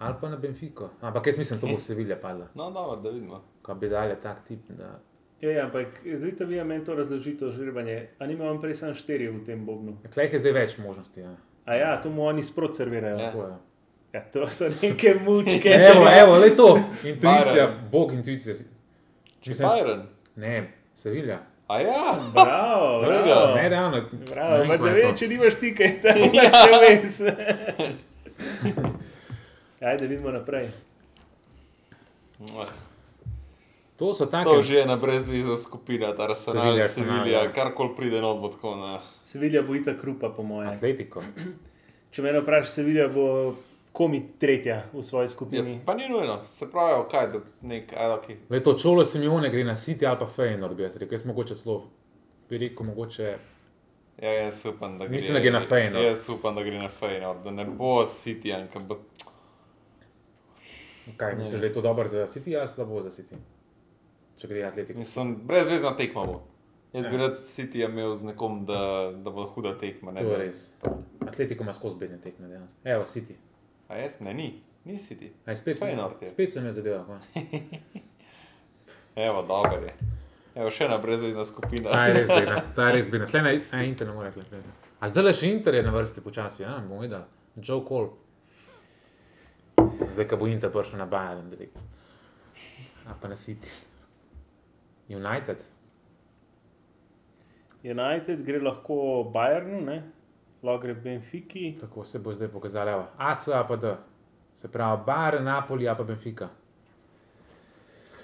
S1: ali pa na Benfico. Ampak jaz mislim, da bo Sevilja padla,
S2: No, dobro, da vidimo.
S1: ko bi dali tak tip. Da...
S3: Ja, ja, ampak zdaj vi meni to razložite, žrebanje. A nima vam prej samo štiri v tem bobnu?
S1: Klej je zdaj več možnosti. Ja.
S3: A ja, to mu oni sprot servirajo.
S2: Ja.
S3: Ja.
S1: Tako, ja.
S3: Ja, to so neke mučke.
S1: Evo, evo, le to. Intuicija,
S2: Bayern.
S1: bog intuicija. Mislim,
S2: Bayern.
S1: ne, Sevilja.
S2: A ja,
S3: Bravo, bravo.
S1: Ne, realno.
S3: Bravo,
S1: ne vem,
S3: pa da
S1: kaj je to.
S3: veš, če nimaš ti kaj tam, ja. se veš. Ajde, vidimo naprej.
S2: Ah,
S1: To so take.
S2: to že je ena brezviza skupina, ta Arsenal,
S1: Sevilla, Arsenal,
S2: Sevilija,
S1: ja.
S2: karkoli pride not bo tako na.
S3: Sevilja bo ita krupa, po mojem.
S1: Atletiko.
S3: Če me vprašaš, Sevilja bo komi tretja v svoji skupini.
S2: Je, Ja, pa ni nujno, se pravi, kaj, da nek, ajde, ok.
S1: Le to čolo Simeone gre na City ali pa Feyenoord, bi jaz rekel. Jaz mogoče celo bi rekel, mogoče
S2: Ja, jaz upam, da gre,
S1: Mislim, da gre na no. Feyenoord.
S2: Jaz upam, da gre na Feyenoord, da ne bo City, ampak bo
S1: Kaj misliš, da je to dobro za City ali slabo za City? Če gre atletika.
S2: Mislim, brezvezna tekma bo. Jaz bi
S1: Ja.
S2: rad City imel z nekom, da, da bo huda tekma. Ne,
S1: To je res. Atletiko ima skozi bedne tekme dejansko. Evo, City.
S2: A jaz ne, ni, ni City.
S1: Aj, spet,
S2: Feyenoord je.
S1: spet sem jaz zadeval. ko.
S2: Evo, dobro je. Evo, še ena brezvezna skupina.
S1: Ta je res bedna, ta je res bedna. Tle naj, a Inter ne more klepeti. A zdaj le še Inter je na vrsti počasi, ja, bomo videli. Joe Cole. Zdaj, ko bo Inter prišel na Bayern direkt. A pa na City. United. Ja.
S3: United gre lahko Bayernu, ne? lahko gre Benfiki.
S1: Tako se bo zdaj pokazala. evo. AC, a pa D. Se pravi, Bayern, Napoli, a pa Benfica.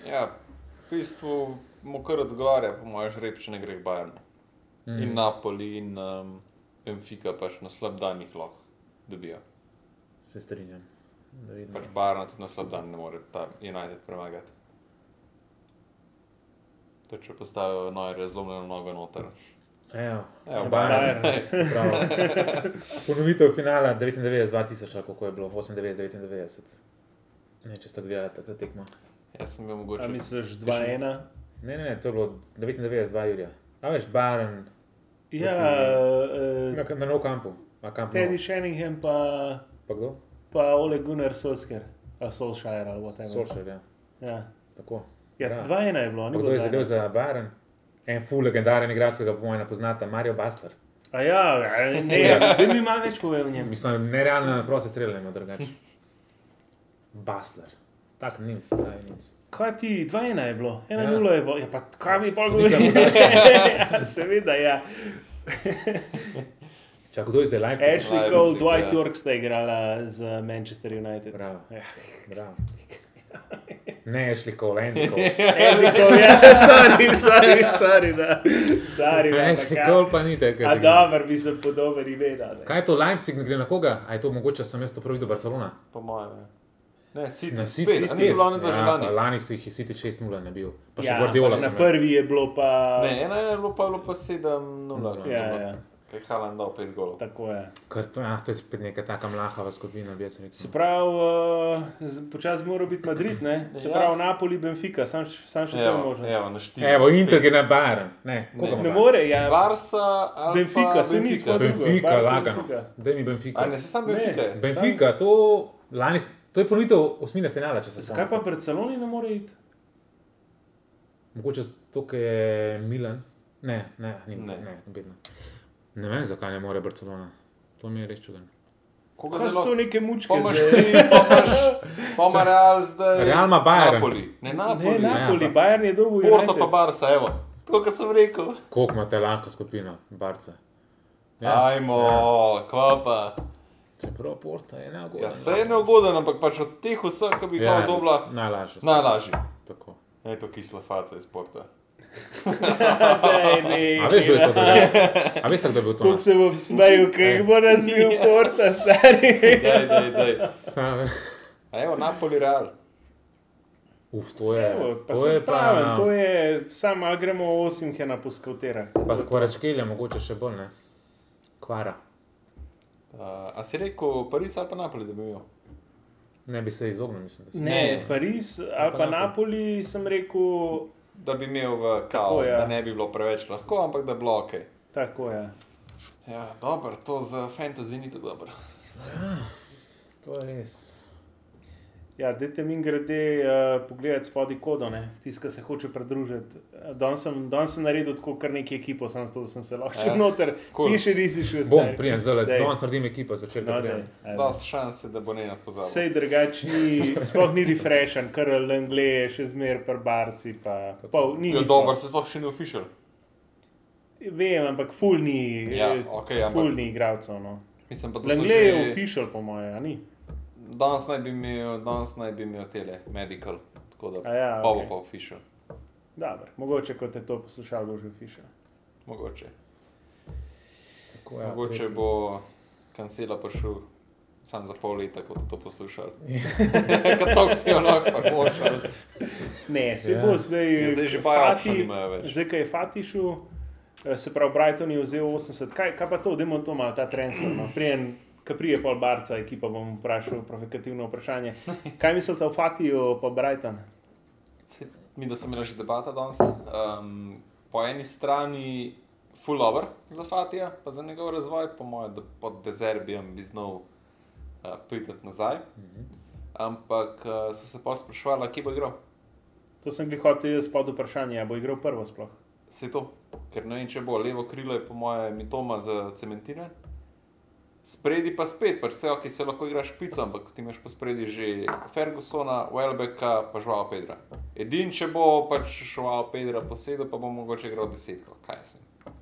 S2: Ja, v bistvu mu kar odgovarja, po mojem, žreb, če ne gre k Bayernu. Mm. In Napoli in um, Benfica pač na slab dan jih lahko dobijo.
S1: Se strinjam. Da vidimo.
S2: Pač Bayern tudi na slab dan ne more ta United premagati. To če postavijo noj zlomljeno nogo noter.
S1: Evo,
S2: Evo,
S1: Bayern.
S3: Bayern.
S1: Prav. Ponovitev finala 99-2000, ali kako je bilo, 98-99. Ne, če ste gledali takrat tekmo.
S2: Jaz sem bil
S3: A
S2: mogoče.
S3: misliš 2-1?
S1: Ne, ne, ne, to je bilo 99-2 Jurija. A veš, Bayern
S3: Ja,
S1: na,
S3: eh,
S1: na nov kampu. A kamp nou.
S3: Teddy Sheringham pa,
S1: Pa kdo?
S3: pa Ole Gunnar Solskjaer. Ali Solskjaer ali whatever.
S1: Solšer, ja.
S3: Ja,
S1: Tako.
S3: ja 2-1 je bilo,
S1: Pa
S3: ni
S1: Kdo
S3: bilo.
S1: je zadev
S3: 2:1.
S1: za Bayern? En full legendaren igralec, ki ga po mojem ne poznata, Mario Basler.
S3: A ja, a ne, da mi malo več pove o njem.
S1: Mislim, nerealno na proste streljanje, drugače. Basler. Tak, nic, daj, nic.
S3: Kaj ti 2-1 je bilo, 1-0
S1: Ja.
S3: ja. je bilo, ja, pa kaj mi pa
S1: Slika
S3: govori?
S1: podaljšek.
S3: ja, seveda, ja.
S1: Čak, kdo je zdaj Leipzig?
S3: Ashley
S2: Leipzig,
S3: Cole,
S2: ja.
S3: Dwight York sta igrala za Manchester United.
S1: Bravo.
S3: Ja.
S1: Bravo. Ne, Ashley Cole, Andy Cole.
S3: Andy Cole, ja, sorry, sorry, sorry, da. sorry da, ampak
S1: Ashley
S3: ja.
S1: Cole pa ni tako.
S3: A
S1: da-
S3: dobro, mislim, podoben imena. ne.
S1: Kaj je to Leipzig, ne gre na koga? A je to mogoče sem jaz to prvi do Barcelona?
S2: po mojem. ja. Ne, City,
S1: Na
S2: ne,
S1: City,
S2: spet, spet.
S1: spet.
S2: niso glavni dva
S1: Ja,
S2: že
S1: pa
S2: lani.
S1: Lani si jih je City 6-0 ne bil, pa še
S3: Ja,
S1: Guardiola
S3: ampak Na
S1: sem ja. imel.
S3: prvi je bilo pa.
S2: Ne, ena je bilo pa, je bilo pa 7-0.
S3: Ja, ja,
S2: Kaj Halan dal 5 golov.
S3: tako je.
S1: Ker to, ja, to je spet neka taka mlahava skupina, bi jaz rekel.
S3: Se pravi, uh, počasi mora biti Madrid, ne? se
S2: Ja.
S3: pravi Napoli, Benfica, sam, š- sam še tam
S2: Evo,
S3: možnost.
S2: evo, na 4.
S1: Evo, Inter je na Bayern. Ne, koga ima
S3: Ne
S1: Bayern?
S3: more, ja.
S2: Barca, ali
S3: Benfica,
S2: pa
S3: saj ni tako. drugo,
S1: Benfica,
S3: Barca,
S1: lagano.
S3: Benfica.
S1: Daj mi Benfica.
S2: A ne, se sam
S3: Ne.
S2: Benfica. je.
S1: Benfica, to, lani, to je ponovitev osmine finala, če se
S3: Zakaj pa Barceloni ne more iti?
S1: Mogoče to, ker je Milan. Ne, ne, ni, ne.
S2: Ne.
S1: Ne, bedno. ne vem, zakaj ne more Barcelona. To mi je res čudno.
S2: Koga
S3: Kaj so to
S2: zelo?
S3: neke mučke?
S2: Pomaž
S3: zdaj?
S2: ti, pomaž, pomaž Real zdaj.
S1: Real ima Bayern.
S2: Napoli. Ne,
S3: Ne,
S2: Napoli. Ne,
S3: Napoli,
S1: Ja, ampak-
S3: Bayern je dobil
S2: Porto
S3: United.
S2: pa Barca, evo. Tako kot sem rekel.
S1: Koliko imate lahko skupino, Barca? Ja.
S2: Ajmo, kva pa.
S1: Čeprav Porta je neugodna.
S2: Ja, se je neugoden, ampak pač od teh vseh, ki bi jih ja. dobila,
S1: Najlažje.
S2: najlažji.
S1: Tako.
S2: Je to kisla faca iz sporta.
S3: Daj,
S1: A veš, kdo je to dobil? A veš, kdo je bil to?
S3: Kot se bo smejal, kaj bo razbil
S2: Ja.
S3: Porta, stari.
S2: Daj, daj, daj.
S1: Sam-
S2: A evo, Napoli Real. Eh,
S1: Uf, to je.
S3: Evo, pa
S1: to je pa.
S3: pravim, to je, sam ali gremo osim hena po skauterah.
S1: Pa kvaračkelja, mogoče še bolj ne. Kvara.
S2: Uh, a si rekel Pariz ali pa Napoli, da bi imel?
S1: Ne bi se izognil, mislim. Da si.
S3: Ne,
S2: Ne.
S3: ne, Pariz ali pa Napoli sem rekel,
S2: Da bi imel v kao,
S3: Tako, ja.
S2: da ne bi bilo preveč lahko, ampak da bi bilo ok.
S3: tako je. Ja.
S2: Ja, dobro, to za fantasy ni tako dobro.
S1: To je res.
S3: Ja, dajte mi grede uh, pogledati spodaj kodo, tiska se hoče pridružiti. Danes sem, dan sem naredil tako kar nekaj ekipo, samo zato, da sem se lahko
S2: Ja.
S3: ja. noter.
S2: Cool.
S3: Cool. Ti še nisi šel zdaj.
S1: Bom, prijem zdaj,
S3: Daj.
S1: danes naredim ekipo zvečer.
S3: No,
S1: No,
S3: daj, ajde.
S2: Dost šanse, da bo ne napozabil.
S3: Sej drugačni, sploh ni refreshen, kar Lengle je še zmeraj pri barci. Pa, pol, ni,
S2: Je
S3: ni
S2: dober, Ja,
S3: sploh.
S2: se sploh še ni official.
S3: Vem, ampak ful ni,
S2: Ja,
S3: eh,
S2: okej, ampak-
S3: ful ni igralcev. No.
S2: Mislim pa, da so
S3: Lengle je
S2: že-
S3: official, po mojem, a ni.
S2: Danes naj bi imel, danes naj bi imel tele, medical. Tako da
S3: A ja,
S2: pa bo
S3: okej.
S2: pa official,
S3: Dobar, mogoče, ko te to poslušal, bo že official. Ja,
S2: mogoče.
S1: Tako,
S2: Ja, mogoče
S1: tretji.
S2: bo kancela prišel sam za pol leta, ko bodo to poslušal. Kot tok si jo lahko pa košal.
S3: Ne, se
S1: Ja.
S3: ja. bo zdaj.
S2: Ja, zdaj že buyout še nimajo več.
S3: Zdaj, kaj je Fati šel, eh, se pravi, Brighton je vzel 80. Kaj, kaj pa to, demo to malo, ta transfer. No. Prijen, ko prije pol barca, ekipa bom vprašal provokativno vprašanje. Kaj mislite o Fatiju pa Brighton?
S2: Saj Mi, da smo imeli že debata danes. Um, po eni strani full over za Fatija, pa za njegov razvoj, po mojem, da pod dezerbijem bi znal uh, priti nazaj. Ampak uh, so se pa sprašvali, kje bo igral.
S3: To sem jih hotel jaz pod vprašanje, ali bo igral prvo sploh.
S2: Se to, ker ne vem, če bo levo krilo, je po mojem, mitoma za cementine. Spredi pa spet, pač vse, ki se lahko igra špico, ampak ti imaš pa spredi že Fergusona, Welbecka, pa Žuao Pedra. Edin, če bo pač Žuao Pedra posedel, pa bo mogoče igral desetko, kaj jaz vem.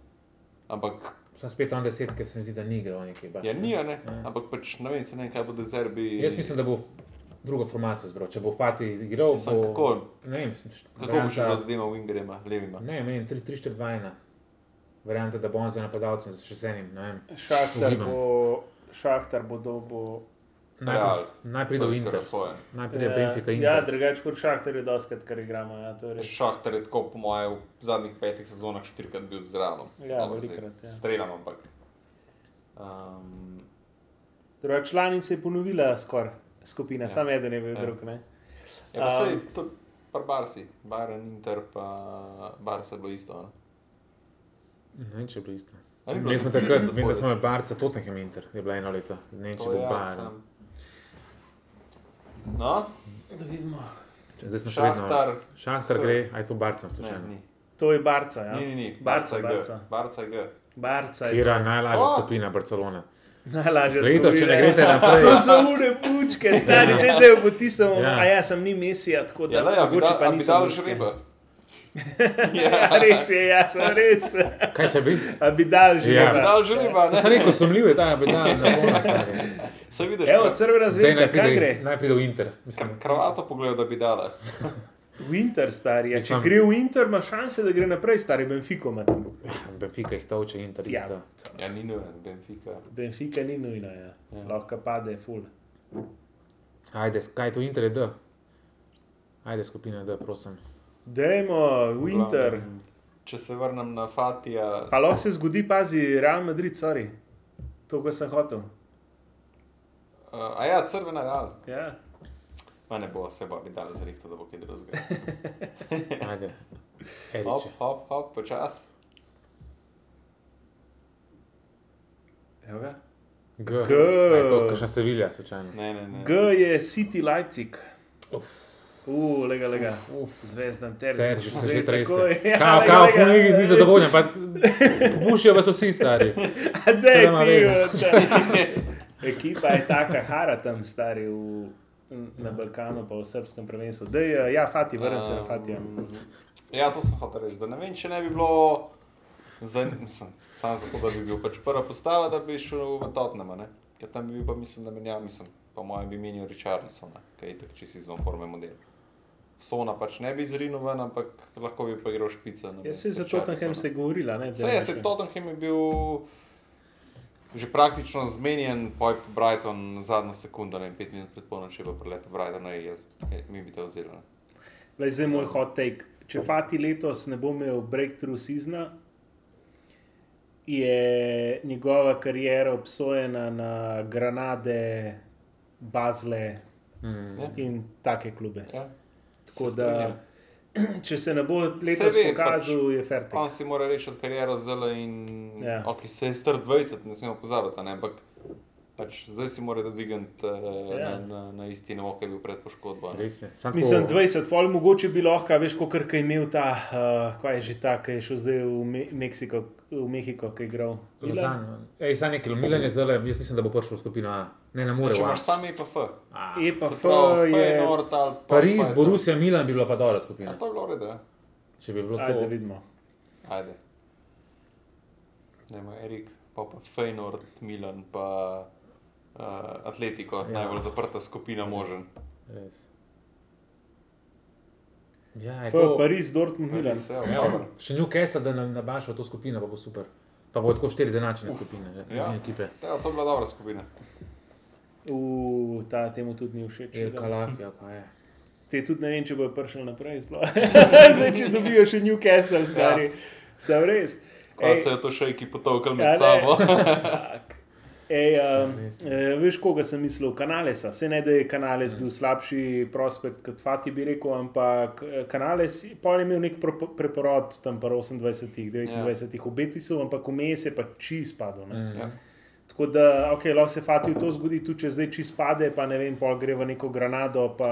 S2: Ampak
S1: Sem spet on deset, ker se mi zdi, da ni igral nekaj. Baš,
S2: ja, ni, a ne?
S1: Ja.
S2: ampak pač ne vem, se ne vem, kaj bo dezerbi.
S1: Jaz mislim, da bo drugo formacijo zbral. Če bo Fati igral,
S2: Mislim,
S1: bo...
S2: kako?
S1: Ne vem,
S2: Kako bo še
S1: varianta-
S2: bilo z dvema wingerjema, levima?
S1: Ne, menim 3-4-2-1. Verjamem, da bo on za napadalcem, za še z enim. ne vem.
S3: Šahtar
S1: Ugibam.
S3: bo, šahtar bo dobo.
S1: Naj-
S2: Real.
S1: Najprej do Inter.
S2: Sojen.
S1: Najprej do Benfica in
S3: ja, drugače kot šahtar je doskrat, kar igramo. Ja, to je res.
S2: Šahter je tako, po mojem, v zadnjih petih sezonah štirikrat bil zraven.
S3: Ja, velikokrat, ja.
S2: Streljam, ampak. Um,
S3: Drugač, lani se je ponovila skoraj skupina,
S2: Ja.
S3: ja. samo eden je bil
S2: Ja.
S3: ja. drug. Ne?
S2: je ja, pa sej,
S3: Um,
S2: to par Barsi, Bayern Inter, pa Barca je bilo isto. Ne?
S1: Ne vem, če je bilo isto.
S2: A ni bilo
S1: Mi smo
S2: za-
S1: takrat,
S2: za
S1: vem, da smo
S2: bolje?
S1: imeli barca Tottenham Inter, je bilo eno leto. Ne vem, če
S2: To
S1: bo
S2: ja,
S1: Bayern.
S2: sem. No,
S3: Da vidimo.
S1: Zdaj smo še vedno.
S2: Šahtar.
S1: Šahtar gre, aj to barcem
S2: Ne,
S1: slučajno.
S2: ni.
S3: To je barca. Ja?
S2: Ni, ni, ni.
S3: Barca,
S2: je G.
S3: barca.
S2: Barca je G.
S3: Barca je
S1: Kira najlažja
S2: O!
S1: skupina Barcelona.
S3: Najlažje je.
S1: Letos, če ne greste naprej.
S3: To so ure pučke, stari ja. dedev potisam,
S1: Ja.
S3: ja. a ja, sem ni mesija, tako da
S2: Ja, le, a bi
S3: mogoče
S2: dal- a bi
S3: nisem
S2: dal
S3: luške.
S2: žrebe.
S3: ja, res je, ja, sem res.
S1: Kaj če bi?
S3: A bi dal že.
S1: Ja.
S2: Bi
S3: Ja.
S2: dal žreba,
S1: Sem se
S2: ne?
S1: rekel, sumljiv je ta bedal na polno stari.
S2: Se vidiš,
S3: Evo,
S2: kra-
S3: crvena
S1: Dej,
S3: zvezda,
S1: naj
S3: Ja, kaj gre?
S1: pride, naj pride v Inter. Mislim,
S2: kra- kravato pogleda, da bi dala.
S3: Winter, stari. Ja, če
S1: Mislim-
S3: gre v Inter, ima šanse, da gre naprej, stari Benfico ima tam.
S1: ja, Benfica jih toče Inter.
S3: Ja.
S1: isto.
S2: Ja, ni nujen, Benfica.
S3: Benfica ni nujna, ja. lahko pade, ful.
S1: Ajde, kaj je to Inter je D? Ajde, skupina D, prosim.
S3: Dajmo, Winter.
S2: ja. Če se vrnem na Fatija,
S3: Pa lahko se zgodi, pazi, Real Madrid, sorry. To, kar sem hotel.
S2: uh, a ja, crvena real.
S3: Ja.
S2: Ma ne bo, se bo bi dal zrihto, da bo kaj drugega.
S1: Ajde.
S2: Hop,
S1: Erič.
S2: hop, hop, počas.
S3: Evo ga.
S1: G.
S3: G.
S1: A je to kakšna Sevilja, sočajno.
S2: Ne, ne, ne.
S3: G je City Leipzig.
S1: Uf.
S3: Uf, lega, lega. Zvezdan ter.
S1: Ter, že se že trese.
S3: Ja,
S1: Kao,
S3: lega,
S1: kao,
S3: lega.
S1: ful, ni, ni zadovoljen, pa bušijo vas vsi stari.
S3: A Dej,
S1: To nema
S3: ti,
S1: veze.
S3: od- Ekipa je taka hara tam, stari v, na Balkanu, pa v srpskem prvenstvu. Dej, ja, Fati, vrnem se na Fatija.
S2: Ehm, Ja, to sem hotel reči, da ne vem, če ne bi bilo, za, mislim, samo zato, da bi bil pač prva postava, da bi šel v Tottenham, ne? ker tam bi bil pa, mislim, da menjal, mislim, po mojem bi menil Richardsona, kaj je tako čisto izven forme model. Sona pač ne bi izrinil ven, ampak lahko bi pa igral špico. na
S3: Jaz
S2: mesto
S3: se za Tottenham
S2: Richarlisona.
S3: se je govorila, ne? da
S2: Vse je, se ja, Tottenham je bil že praktično zmenjen, pojp Brighton zadnjo sekundo, ne vem, pet minut pred polnočjo, pa preletel Brighton, ne, jaz, je, mi bi te vzeli. ne.
S3: Glej, zdaj moj hot take. Če Fati letos ne bo imel breakthrough seizna, je njegova karijera obsojena na granade, bazle
S1: Mm.
S2: Ja.
S3: in take klube.
S2: Ja.
S3: Tako
S2: Se
S3: da,
S2: strinjam.
S3: če se ne bo letos
S2: Se ve,
S3: pokazal, pač, je fertik.
S2: On si mora rešiti kariero zelo in
S3: Ja.
S2: ja. ok, se je star 20, ne smemo pozabiti, a ne, ampak pač zdaj si mora dvigati eh,
S3: Ja.
S2: ja. na, na, na isti nivo, ki je bil pred poškodbo. a ne.
S1: Res je. Sam tako-
S3: Mislim, 20, pol mogoče bi lahko, veš, kot je imel ta, uh, kaj je že ta, ki je šel zdaj v, Me Meksiko, v Mehiko, ki je igral. Milan?
S1: Lozan, ej, sam nekaj, Milan je zdaj, jaz mislim, da bo prišel v skupino A. Ne, ne more.
S2: Če
S1: v A.
S2: imaš sami EPF,
S1: A.
S3: Je pa
S2: se
S3: E F,
S2: pravi
S3: je.
S2: Feyenoord ali pa
S1: Pariz,
S2: Feyenoord.
S1: Borussia, Milan bi bila pa dobra
S2: Ja,
S1: skupina.
S2: to je bilo redo,
S1: Če bi bilo
S3: Ajde,
S1: to.
S3: vidimo.
S2: ajde. Dajmo Erik, pa pa Feyenoord, Milan, pa uh, Atletiko,
S1: Ja.
S2: ja. najbolj zaprta skupina možen.
S1: Res. Ja, je
S3: F,
S1: to.
S3: Pariz, Dortmund, Milan.
S2: Se, ja,
S1: Ja,
S2: dobro.
S1: še Newcastle, da nam nabaša v to skupino, pa bo super. Pa bo tako štiri zanačene skupine, ja.
S2: ja.
S1: iz ekipe.
S2: Ja, to je bila dobra skupina.
S3: V ta temu tudi ni všeč.
S1: El
S3: Videl.
S1: Kalafija, kaj je.
S3: Te tudi ne vem, če bojo prišli naprej. sploh. Zdaj, če dobijo še Newcastle, stari. Ja. Sem res.
S2: Kaj se je to še ki potolkal
S3: Ja,
S2: med
S3: ne.
S2: sabo?
S3: Fak. Ej, um,
S1: res.
S3: eh, veš, koga sem mislil? Kanalesa. Se ne, da je Kanales bil slabši prospekt kot Fati, bi rekel, ampak eh, Kanales pa je imel nek pro- preporod tam pa 28, 29 ja. obetisov, ampak vmes je pa čist padel. Mm.
S1: Mm.
S2: Ja.
S3: Tako da, ok, lahko se Fatiju to zgodi, tudi če zdaj čist pade, pa ne vem, pa gre v neko granado, pa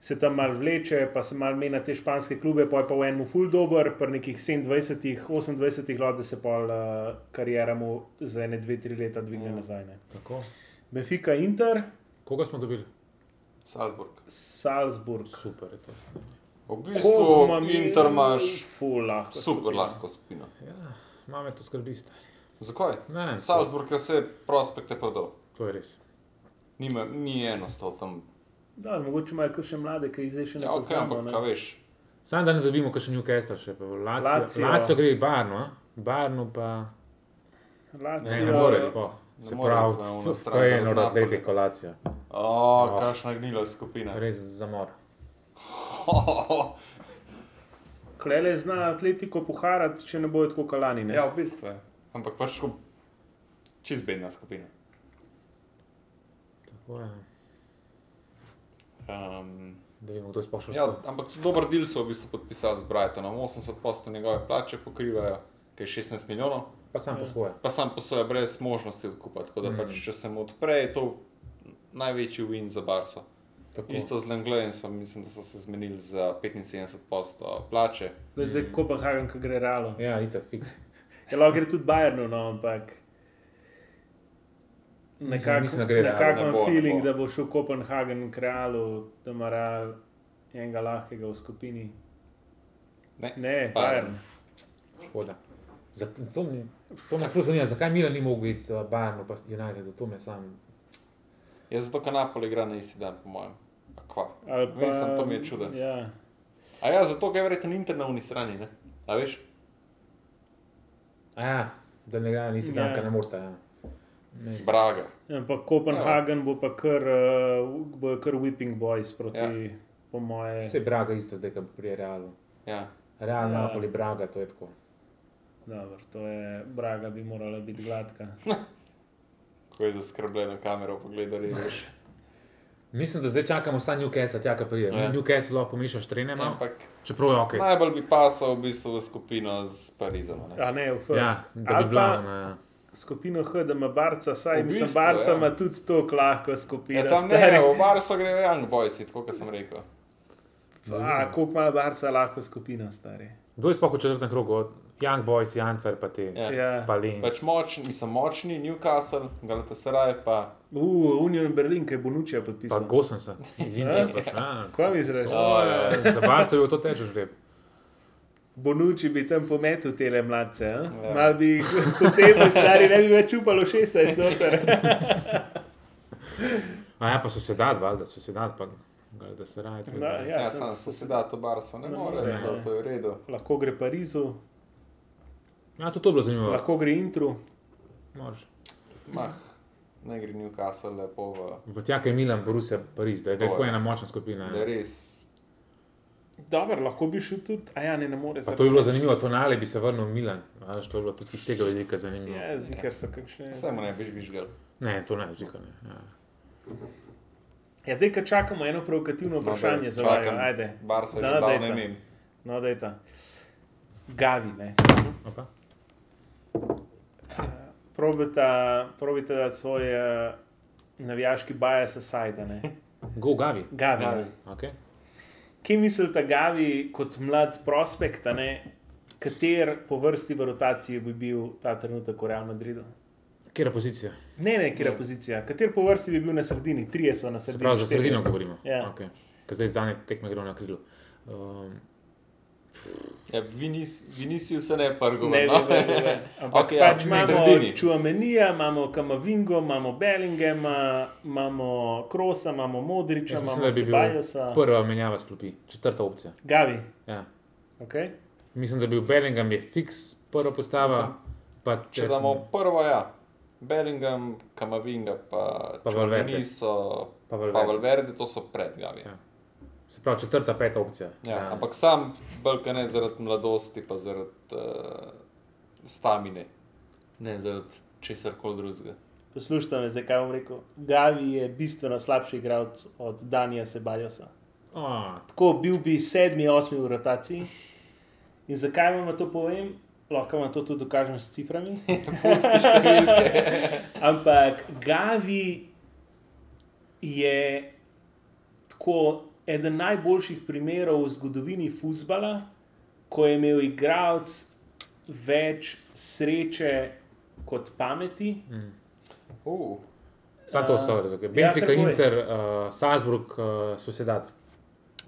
S3: se tam mal vleče, pa se mal meni na te španske klube, pa je pa v enem full dober, pa nekih 27, 28 let, da se pa uh, karijera mu za ene, dve, tri leta dvigne
S2: Ja.
S3: nazaj. Ne.
S1: Tako.
S3: Benfica, Inter,
S1: Koga smo dobili?
S2: Salzburg.
S3: Salzburg.
S1: Super je to. stanje.
S2: V bistvu Inter imaš
S3: full lahko.
S2: super
S3: skupino.
S2: lahko skupino.
S1: Ja, mame to skrbi stari.
S2: Zakaj?
S1: Ne vem,
S2: Salzburg je vse prospekte prodal.
S1: to je res.
S2: Nima, ni enostavno tam.
S3: Da, mogoče imajo še mlade, ki jih zdaj še ne
S2: Ja, ok,
S3: poznamo.
S2: ampak kaj
S3: ne.
S2: veš.
S1: Samo da ne dobimo še Newcastle, še pa Lazio.
S3: Lazio.
S1: Lazio gre barno, a? barno pa
S3: Lazio-
S1: ne, ne more sploh.
S2: Ne
S1: Se
S2: more,
S1: pravi,
S2: to je ona
S1: f-
S2: stran
S1: to je
S2: zaradi
S1: eno od
S2: Napola.
S1: atletikov Lazio.
S2: O, kakšna gnila skupina.
S1: Oh. Res zamor.
S3: Klele zna atletiko poharati, če ne bojo tako kalani. Ne?
S2: ja, v bistvu je. Ampak pač tako čist bedna skupina.
S1: Tako je.
S2: Um,
S1: Da vidimo, kdo je sploh še
S2: ja,
S1: ostal.
S2: ampak dober del so v bistvu podpisali z Brightonom. 80% njegove plače pokrivajo, kaj je 16 milijonov.
S1: Pa sam po svoje.
S2: pa sam posoja brez možnosti odkupa. Tako da,
S1: Mm.
S2: mm. pač, če se mu odpre, je to največji win za Barca.
S1: Tako.
S2: Isto z Lenglejem, mislim, da so se zmenili za 75% plače.
S3: Zdaj, zdaj Kopenhagen, ki gre realo.
S1: Ja, itak, fiks.
S3: Ja, lahko gre tudi Bajernu, no, ampak Nekako
S1: mislim, da gre Realu,
S3: nekako
S2: ne
S3: imam
S2: bo, ne
S3: feeling,
S2: bo.
S3: da bo šel Kopenhagen k Realu, da ima Real enega lahkega v skupini.
S2: Ne.
S3: Ne,
S2: Bayern.
S3: Bayern.
S1: Škoda. Za, to, mi- to me prav zanima, zakaj Milan ni mogel iti v Bayern, pa United, to me sam.
S2: Jaz Ja, zato, ker Napoli igra na isti dan, po mojem. A Kva.
S3: Ali pa,
S2: Mislim, to mi je čudno.
S3: Ja.
S2: A ja, zato, ker je verjetno Inter na unji strani, ne? A veš?
S1: A Ja, da ne gre, nisi tam,
S3: Ja.
S1: kar ne morete. Ja. Ne.
S2: Braga.
S3: Ampak Ja, Kopenhagen bo pa kar, uh, bo kar whipping boys proti, ja.
S2: Ja.
S3: po moje.
S1: Vse Braga isto zdaj, ko prije Realu.
S2: Ja.
S1: Real,
S3: Ja.
S1: ja. Napoli, Braga, to je tako.
S3: Dobro, to je, Braga bi morala biti gladka.
S2: Ko je zaskrbljeno kamero pogledali, veš.
S1: Mislim, da zdaj čakamo samo Newcastle, tja, kaj pride.
S2: Ja.
S1: Ja. Newcastle lahko pomišljaš, trenema, ja,
S2: Ampak
S1: čeprav je ok.
S2: okay. najbolj bi pasal v bistvu v skupino z Parizom. a Ne?
S3: A ne, v F.
S1: Ja, da
S3: Ali
S1: bi
S3: pa
S1: bila ona. ja.
S3: Skupino H, da ima Barca, saj
S2: V
S3: mislim,
S2: bistvu,
S3: Barca
S2: ja.
S3: ima tudi to lahko skupino.
S2: Ja, sam ne, ne, v Barsu gre realno bojci, tako kot sem rekel.
S3: A, koliko ima Barca lahko skupino, stari.
S1: Kdo je spokoj v četrtem krogu? Od Young Boys, Antwerp, pa ti.
S2: Ja.
S3: Ja.
S1: Pa Lens.
S2: Pač močni, mislim, močni, Newcastle, Galatasaray pa
S3: Uh, Union Berlin, ki je Bonučija
S1: Pa
S3: podpisal.
S1: gosen sem, iz Indije. pač, ja.
S3: Kaj mi zreš?
S2: Ja, ja.
S1: Za barco je to težko že.
S3: Bonuči bi tam pometel te mladce, ja?
S2: Ja.
S3: mal bi jih potegnil, stari ne bi več upalo 16 noter.
S1: A ja, pa so se dal, valjda, so se dal, pa ga- da se raje.
S3: Da,
S1: ja.
S2: Ja, ja
S3: sem-
S2: sam
S3: sem-
S2: so se da to Barso, ne
S3: Ne
S2: more,
S3: more,
S2: zato
S3: ja.
S2: to je v redu.
S3: Lahko gre Parizu,
S1: ja, tudi to je bilo zanimivo.
S3: lahko gre Intru.
S1: Može.
S2: Mah, ne gre Newcastle lepo v...
S1: V tja, kaj je Milan, Borussia, Pariz, da je, da je
S2: To
S1: tako
S2: je.
S1: ena močna
S2: Da
S1: skupina.
S2: je
S1: Ja.
S2: res...
S3: Dobro, lahko bi šel tudi, a ja, ne, ne more
S1: Pa to je bilo zanimivo, to nale bi se vrnil v Milan. A, veš, to je bilo tudi iz tega vidika zanimivo.
S3: Ja, zihar so kakšne.
S2: Samo ne biš bižgal.
S1: Ne, to ne, zika ne. Ja.
S3: Ja, zdaj, ko čakamo eno
S2: No,
S3: provokativno vprašanje za vaju, ajde.
S2: Barso je
S3: Da,
S2: že dal, ne
S3: dajta.
S2: vem.
S3: No, da je ta. Gavi, ne.
S1: Opa.
S3: Probite, probite dati svoj eh, navijaški bajas aside, ne.
S1: Go Gavi. Ja.
S3: Gavi.
S2: Gavi.
S3: Gavi.
S1: Okay.
S3: Kaj mislite, Gavi, kot mlad prospekt, a ne, kater po vrsti v rotaciji bi bil ta trenutek v Real Madridu?
S1: Kera pozicija?
S3: Ne, ne,
S2: No.
S3: kje je pozicija. Kater po vrsti bi bil na sredini, trije so na
S1: Se
S3: sredini.
S1: pravi, za
S3: štirje.
S1: sredino govorimo.
S3: Ja.
S1: Okay. Ker zdaj zdane tekme grejo na krilo. Um,
S2: Ja, vi, nis, vi nisi vse ne no. prgo.
S3: Ne, ne, ne, ne, ne. Ampak okay, pač ja, imamo Čuamenija, imamo Kamavingo, imamo Bellingema, imamo Krosa, imamo Modriča,
S1: jaz mislim,
S3: imamo
S1: da bi bil
S3: Sebajosa.
S1: prva menjava s klopi, četrta opcija.
S3: Gavi,
S1: Ja.
S3: okay?
S1: Mislim, da bi bil Bellingham je fiks prva postava, pa
S2: Če damo prvo, ja. Bellingham, Kamavinga, pa
S1: Pa Valverde.
S2: niso,
S1: Pa
S2: pa
S1: Valverde.
S2: Valverde, to so pred Gavi.
S1: Ja. Se pravi, četrta, peta opcija.
S2: Ja, ja. Ampak sam, brka ne zaradi mladosti, pa zaradi uh, stamine, ne zaradi česar koli drugega.
S3: Poslušajte me, zdaj kaj bom rekel. Gavi je bistveno slabši igralec od Danija Sebajosa.
S1: A,
S3: Tako bil bi sedmi, osmi v rotaciji. In zakaj vam to povem? Lahko vam to tudi dokažem s ciframi. Ampak Gavi je tako eden najboljših primerov v zgodovini futbola, ko je imel igralec več sreče kot pameti.
S2: Mm. Uh,
S1: Sam to
S3: Eh,
S1: so, okay.
S3: ja,
S1: Benfica,
S3: kar
S1: ja,
S3: povej.
S1: Inter, uh, Salzburg, uh, Sosedad.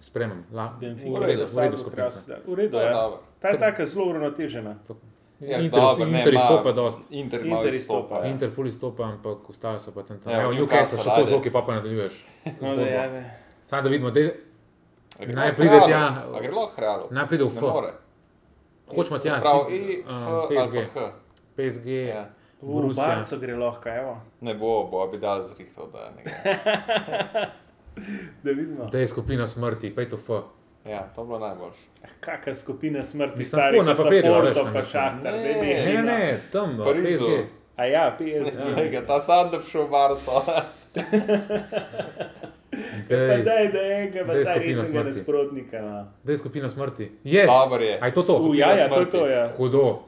S1: Spremem. La,
S3: Benfica,
S1: v redu, v redu
S3: Salzburg,
S1: skupnica.
S3: Krasnodar. V redu,
S2: To je
S3: ja.
S2: dobro.
S3: Ta je taka zelo uravnotežena.
S2: ja,
S1: Inter, dobro,
S2: ne,
S1: Inter
S2: ma-
S1: izstopa dosti.
S2: Inter,
S3: Inter
S2: malo
S3: izstopa,
S2: izstopa.
S3: ja.
S2: Ja.
S1: Inter ful izstopa, ampak ostale so pa tam tam.
S2: Ja,
S1: Evo, Newcastle,
S2: Newcastle,
S1: še to
S2: ajde.
S1: z roki pa pa nadaljuješ.
S3: No, da, ja, ne.
S1: Samo da vidimo, da
S2: A gre
S1: Naj
S2: lahko
S1: pride
S2: Realu?
S1: tja.
S2: A gre lahko Realu?
S1: naj pride v
S2: Ne
S1: F.
S2: more.
S1: Hočemo tja,
S2: Prav,
S1: si-
S2: E, F
S1: um,
S2: ali
S1: PSG,
S2: pa H.
S1: PSG,
S2: Ja.
S3: V
S1: Borussia.
S3: Barco gre lahko, evo.
S2: Ne bo, bo bi dal zrihtal, da ne gre.
S3: Da vidimo.
S1: da je skupina smrti, pa je to F.
S2: Ja, to bi bilo najboljše.
S3: Kakšna skupina smrti,
S1: Mislim,
S3: stari,
S1: tako, na
S3: ko so
S1: papirju, veš,
S3: Porto
S1: na
S3: pa
S1: mislim.
S2: Ne,
S3: Šahtar, ne,
S1: Ne, ne,
S3: ne, ne.
S1: ne, tam, v
S2: Parizu.
S1: PSG.
S3: A ja, PSG.
S2: Ja, ta sam, da bi šel v Barso.
S3: Pa
S1: Dej,
S3: daj, da je enega, pa
S1: Da je
S3: saj
S1: skupina
S3: resnega
S1: smrti.
S3: nasprotnika. no.
S1: da je skupina smrti. Yes.
S2: Dobro je.
S1: A je to to?
S3: U, Ja, ja, to je to, ja.
S1: Hudo,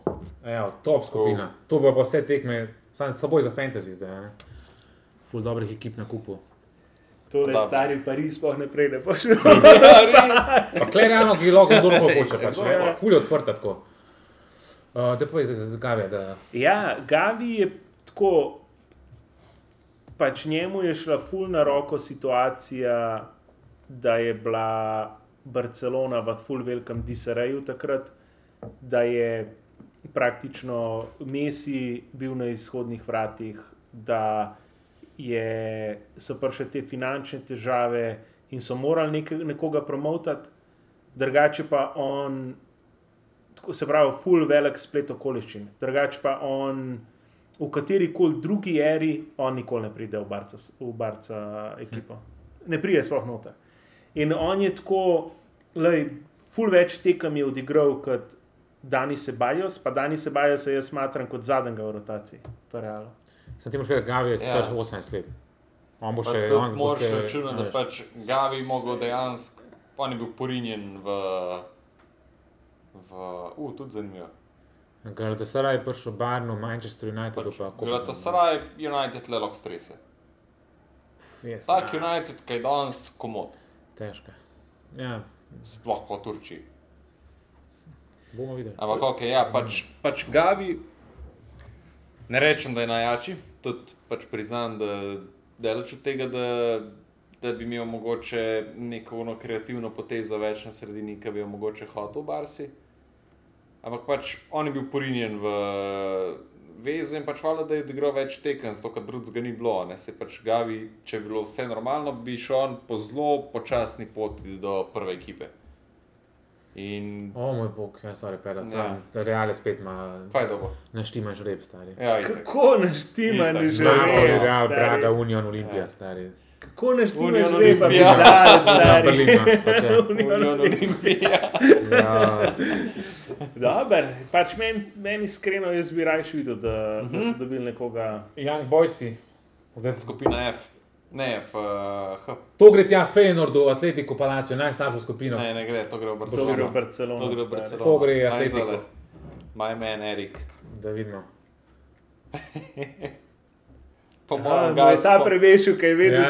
S1: Evo, top skupina.
S2: Oh.
S1: Uh. To bo pa vse tekme, samo slabo je za fantasy zdaj. a Ne? Ful dobrih ekip na kupu.
S3: To je
S2: Dobro.
S3: Torej, stari Pariz, pa naprej ne boš šel.
S1: Pa klej realno, ki lahko kdo koli hoče, pač,
S2: Ja,
S1: ne,
S2: ja.
S1: ful je odprta tako. Uh, da povej zdaj za zgave, da
S3: Ja, Gavi je tako pač njemu je šla ful na roko situacija, da je bila Barcelona v ful velikem disareju takrat, da je praktično Messi bil na izhodnih vratih, da je, so prišle te finančne težave in so morali nek, nekoga promotati, drugače pa on, tako se pravi, full velik splet okoliščin. Drugače pa on, v kateri koli drugi eri, on nikoli ne pride v Barca, v Barca ekipo. Ne pride sploh noter. In on je tako, lej, full več tekem je odigral kot Dani Sebajos, pa Dani Sebajos jaz smatram kot zadnjega v rotaciji, v realu.
S1: Sem ti moral reči, Gavi je star
S2: Ja.
S1: 18 let. On bo
S2: Pa
S1: še,
S2: tudi
S1: on bo
S2: Moraš
S1: še,
S2: računati, da
S1: veš.
S2: pač Gavi mogel dejansko, pa ni bil porinjen v. v uh, tudi zanimivo.
S1: Galatasaray je prišel barno, Manchester United
S2: Pač,
S1: pa
S2: Galatasaray, United le lahko strese.
S1: Yes,
S2: Vsak United, ki je danes komod,
S1: Težka. Ja,
S2: sploh po Turčiji.
S1: bomo videli.
S2: Ampak ok, ja, pač, pač Gavi, ne rečem, da je najjači, tudi pač priznam, da delaš od tega, da, da bi imel mogoče neko ono kreativno potezo več na sredini, ki bi jo mogoče hotel v Barsi. Ampak pač on je bil porinjen v vezo in pač valjda, da je odigral več tekem, zato ker drugega ni bilo. a Ne? Se pač Gavi, če bi bilo vse normalno, bi šel on po zelo počasni poti do prve ekipe. In
S1: O moj bog, ja, sorry, pera,
S2: Ja.
S1: ja. Real je spet ima
S2: kaj je dobro?
S1: naštiman žreb, stari.
S2: Ja, itak.
S3: Kako naštima
S2: Itak.
S3: ne
S1: Napoli,
S2: Napoli,
S3: želijo?
S1: no, Real, Braga, Union,
S2: Ja.
S1: Olimpija, stari.
S3: Kako naštima
S2: Union
S3: želijo?
S2: Olimpija.
S1: Ja, Berlin, no, pač je.
S2: Union Olimpija.
S1: Ja,
S3: Dober, pač meni men iskreno, jaz bi rajši videl, da, uh -huh. da so dobili nekoga.
S1: Young Boysi. Zdaj,
S2: Skupina F. Ne, F, uh, H.
S1: to gre tja Feyenoordu, Atletico Palacio, najslabšo skupino.
S2: Ne, ne gre, to gre v
S3: To gre v
S2: Barcelono. To
S3: Barcelono.
S2: gre v
S3: stari.
S2: Barcelono.
S1: To gre
S2: Aj,
S1: Atletico.
S2: zale. My man, Erik.
S1: Da vidimo.
S2: Po
S3: Aha,
S2: mojem,
S3: mu Ja, no, je
S2: guys.
S3: Ta
S2: po-
S3: prevešil, kaj vedi,
S1: Ja,
S3: da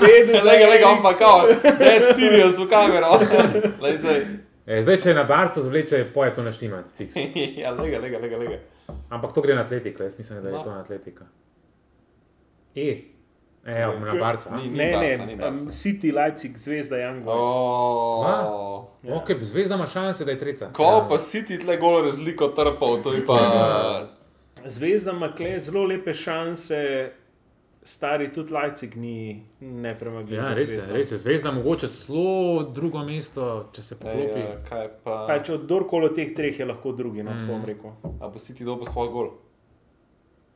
S3: vedel, da
S2: Lega, lega, on
S3: Erik-
S2: pa kao, dead serious v kamero. Lej zdaj.
S1: E, zdaj, če je na barcu zvleče, poje to naštiman. Fiks.
S2: Ja, lega, lega, lega, lega.
S1: Ampak to gre na atletiko, jaz mislim, da je
S2: No.
S1: to na atletiko. E, evo, na barca. a?
S2: Ni, ni
S3: Ne,
S2: Barca,
S3: ne,
S2: ni
S3: um,
S2: Barca.
S3: City, Leipzig, Zvezda, Young Boys.
S2: Oooo.
S1: Kva?
S3: Ja.
S1: Ok, zvezda ima šanse, da je tretja.
S2: Ko pa si ti tle gol razliko trpal, to je pa...
S3: Zvezda ima kle zelo lepe šanse, stari tudi Leipzig ni nepremagljiv.
S1: Ja,
S3: za
S1: res je,
S3: Zvezdo.
S1: res je. Zvezda mogoče celo drugo mesto, če se
S2: Ej,
S1: poklopi.
S2: ja, kaj pa...
S3: Pač od kdorkoli od teh treh je lahko drugi, no,
S1: Mm.
S3: tako bom rekel.
S2: A bo si ti dobil svoj gol?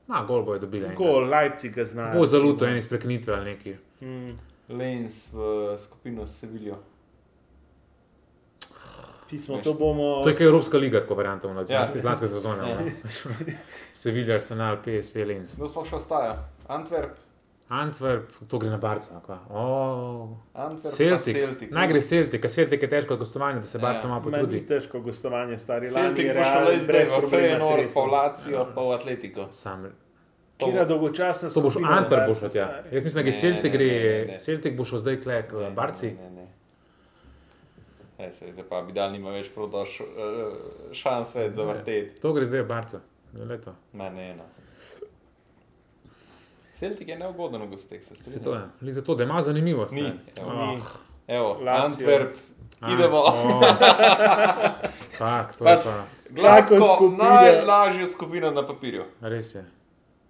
S1: Ma, gol bojo dobili. enkrat.
S3: Tako Leipzig ga zna.
S1: Bo zelo to en iz preknitve ali neki.
S3: Mm,
S2: Lens v skupino s Sevilijo.
S3: pismo,
S2: Veš,
S3: to bomo.
S1: To je kot Evropska liga, tako verjamem, od
S2: Ja.
S1: lanske, lanske sezone. Ja. Sevilla, Arsenal, PSV, Lens.
S2: Kdo sploh še ostaja? Antwerp,
S1: Antwerp, to gre na barca. no, kva. O,
S2: Antwerp
S1: Celtic.
S2: Celtic. Celtic.
S1: Naj gre Celtic, ker Celtic je težko gostovanje, da se
S2: Ja.
S1: barca malo
S3: Meni ni
S1: potrudi.
S3: težko gostovanje, stari
S2: Celtic
S3: Lani je
S2: bo šel
S3: Real
S2: zdaj
S3: brez
S2: v
S3: problema
S2: Feyenoord,
S3: tresel.
S2: pa v Lacijo, pa v Atletico.
S1: Sam.
S3: Kira dolgočasna
S1: To boš
S3: skupina,
S1: Antwerp bo
S3: Barca,
S1: šel tja. E,
S3: stari.
S1: Jaz mislim, da
S2: Ne,
S1: je Celtic
S2: ne,
S1: gre,
S2: ne, ne.
S1: Celtic bo šel zdaj klek v barci.
S2: Ne, ne, ne. E, se, zdaj pa bi dal nima več prodaš uh, šans več za vrtet.
S1: To gre zdaj v barca. Glej to.
S2: Ne, ne, no. Celtic je neugoden v gosteh, se
S1: Saj to
S2: strinjam.
S1: je. Glih Zato, da ima zanimivost.
S2: Ni.
S1: ne.
S2: Evo,
S3: Ni.
S2: Evo
S3: Lazio.
S2: Antwerp,
S1: Ah,
S2: idemo.
S1: o. Fak, to je
S2: Pač-
S1: pa.
S2: Gladko,
S3: Tako skupina.
S2: najlažja skupina na papirju.
S1: Res je.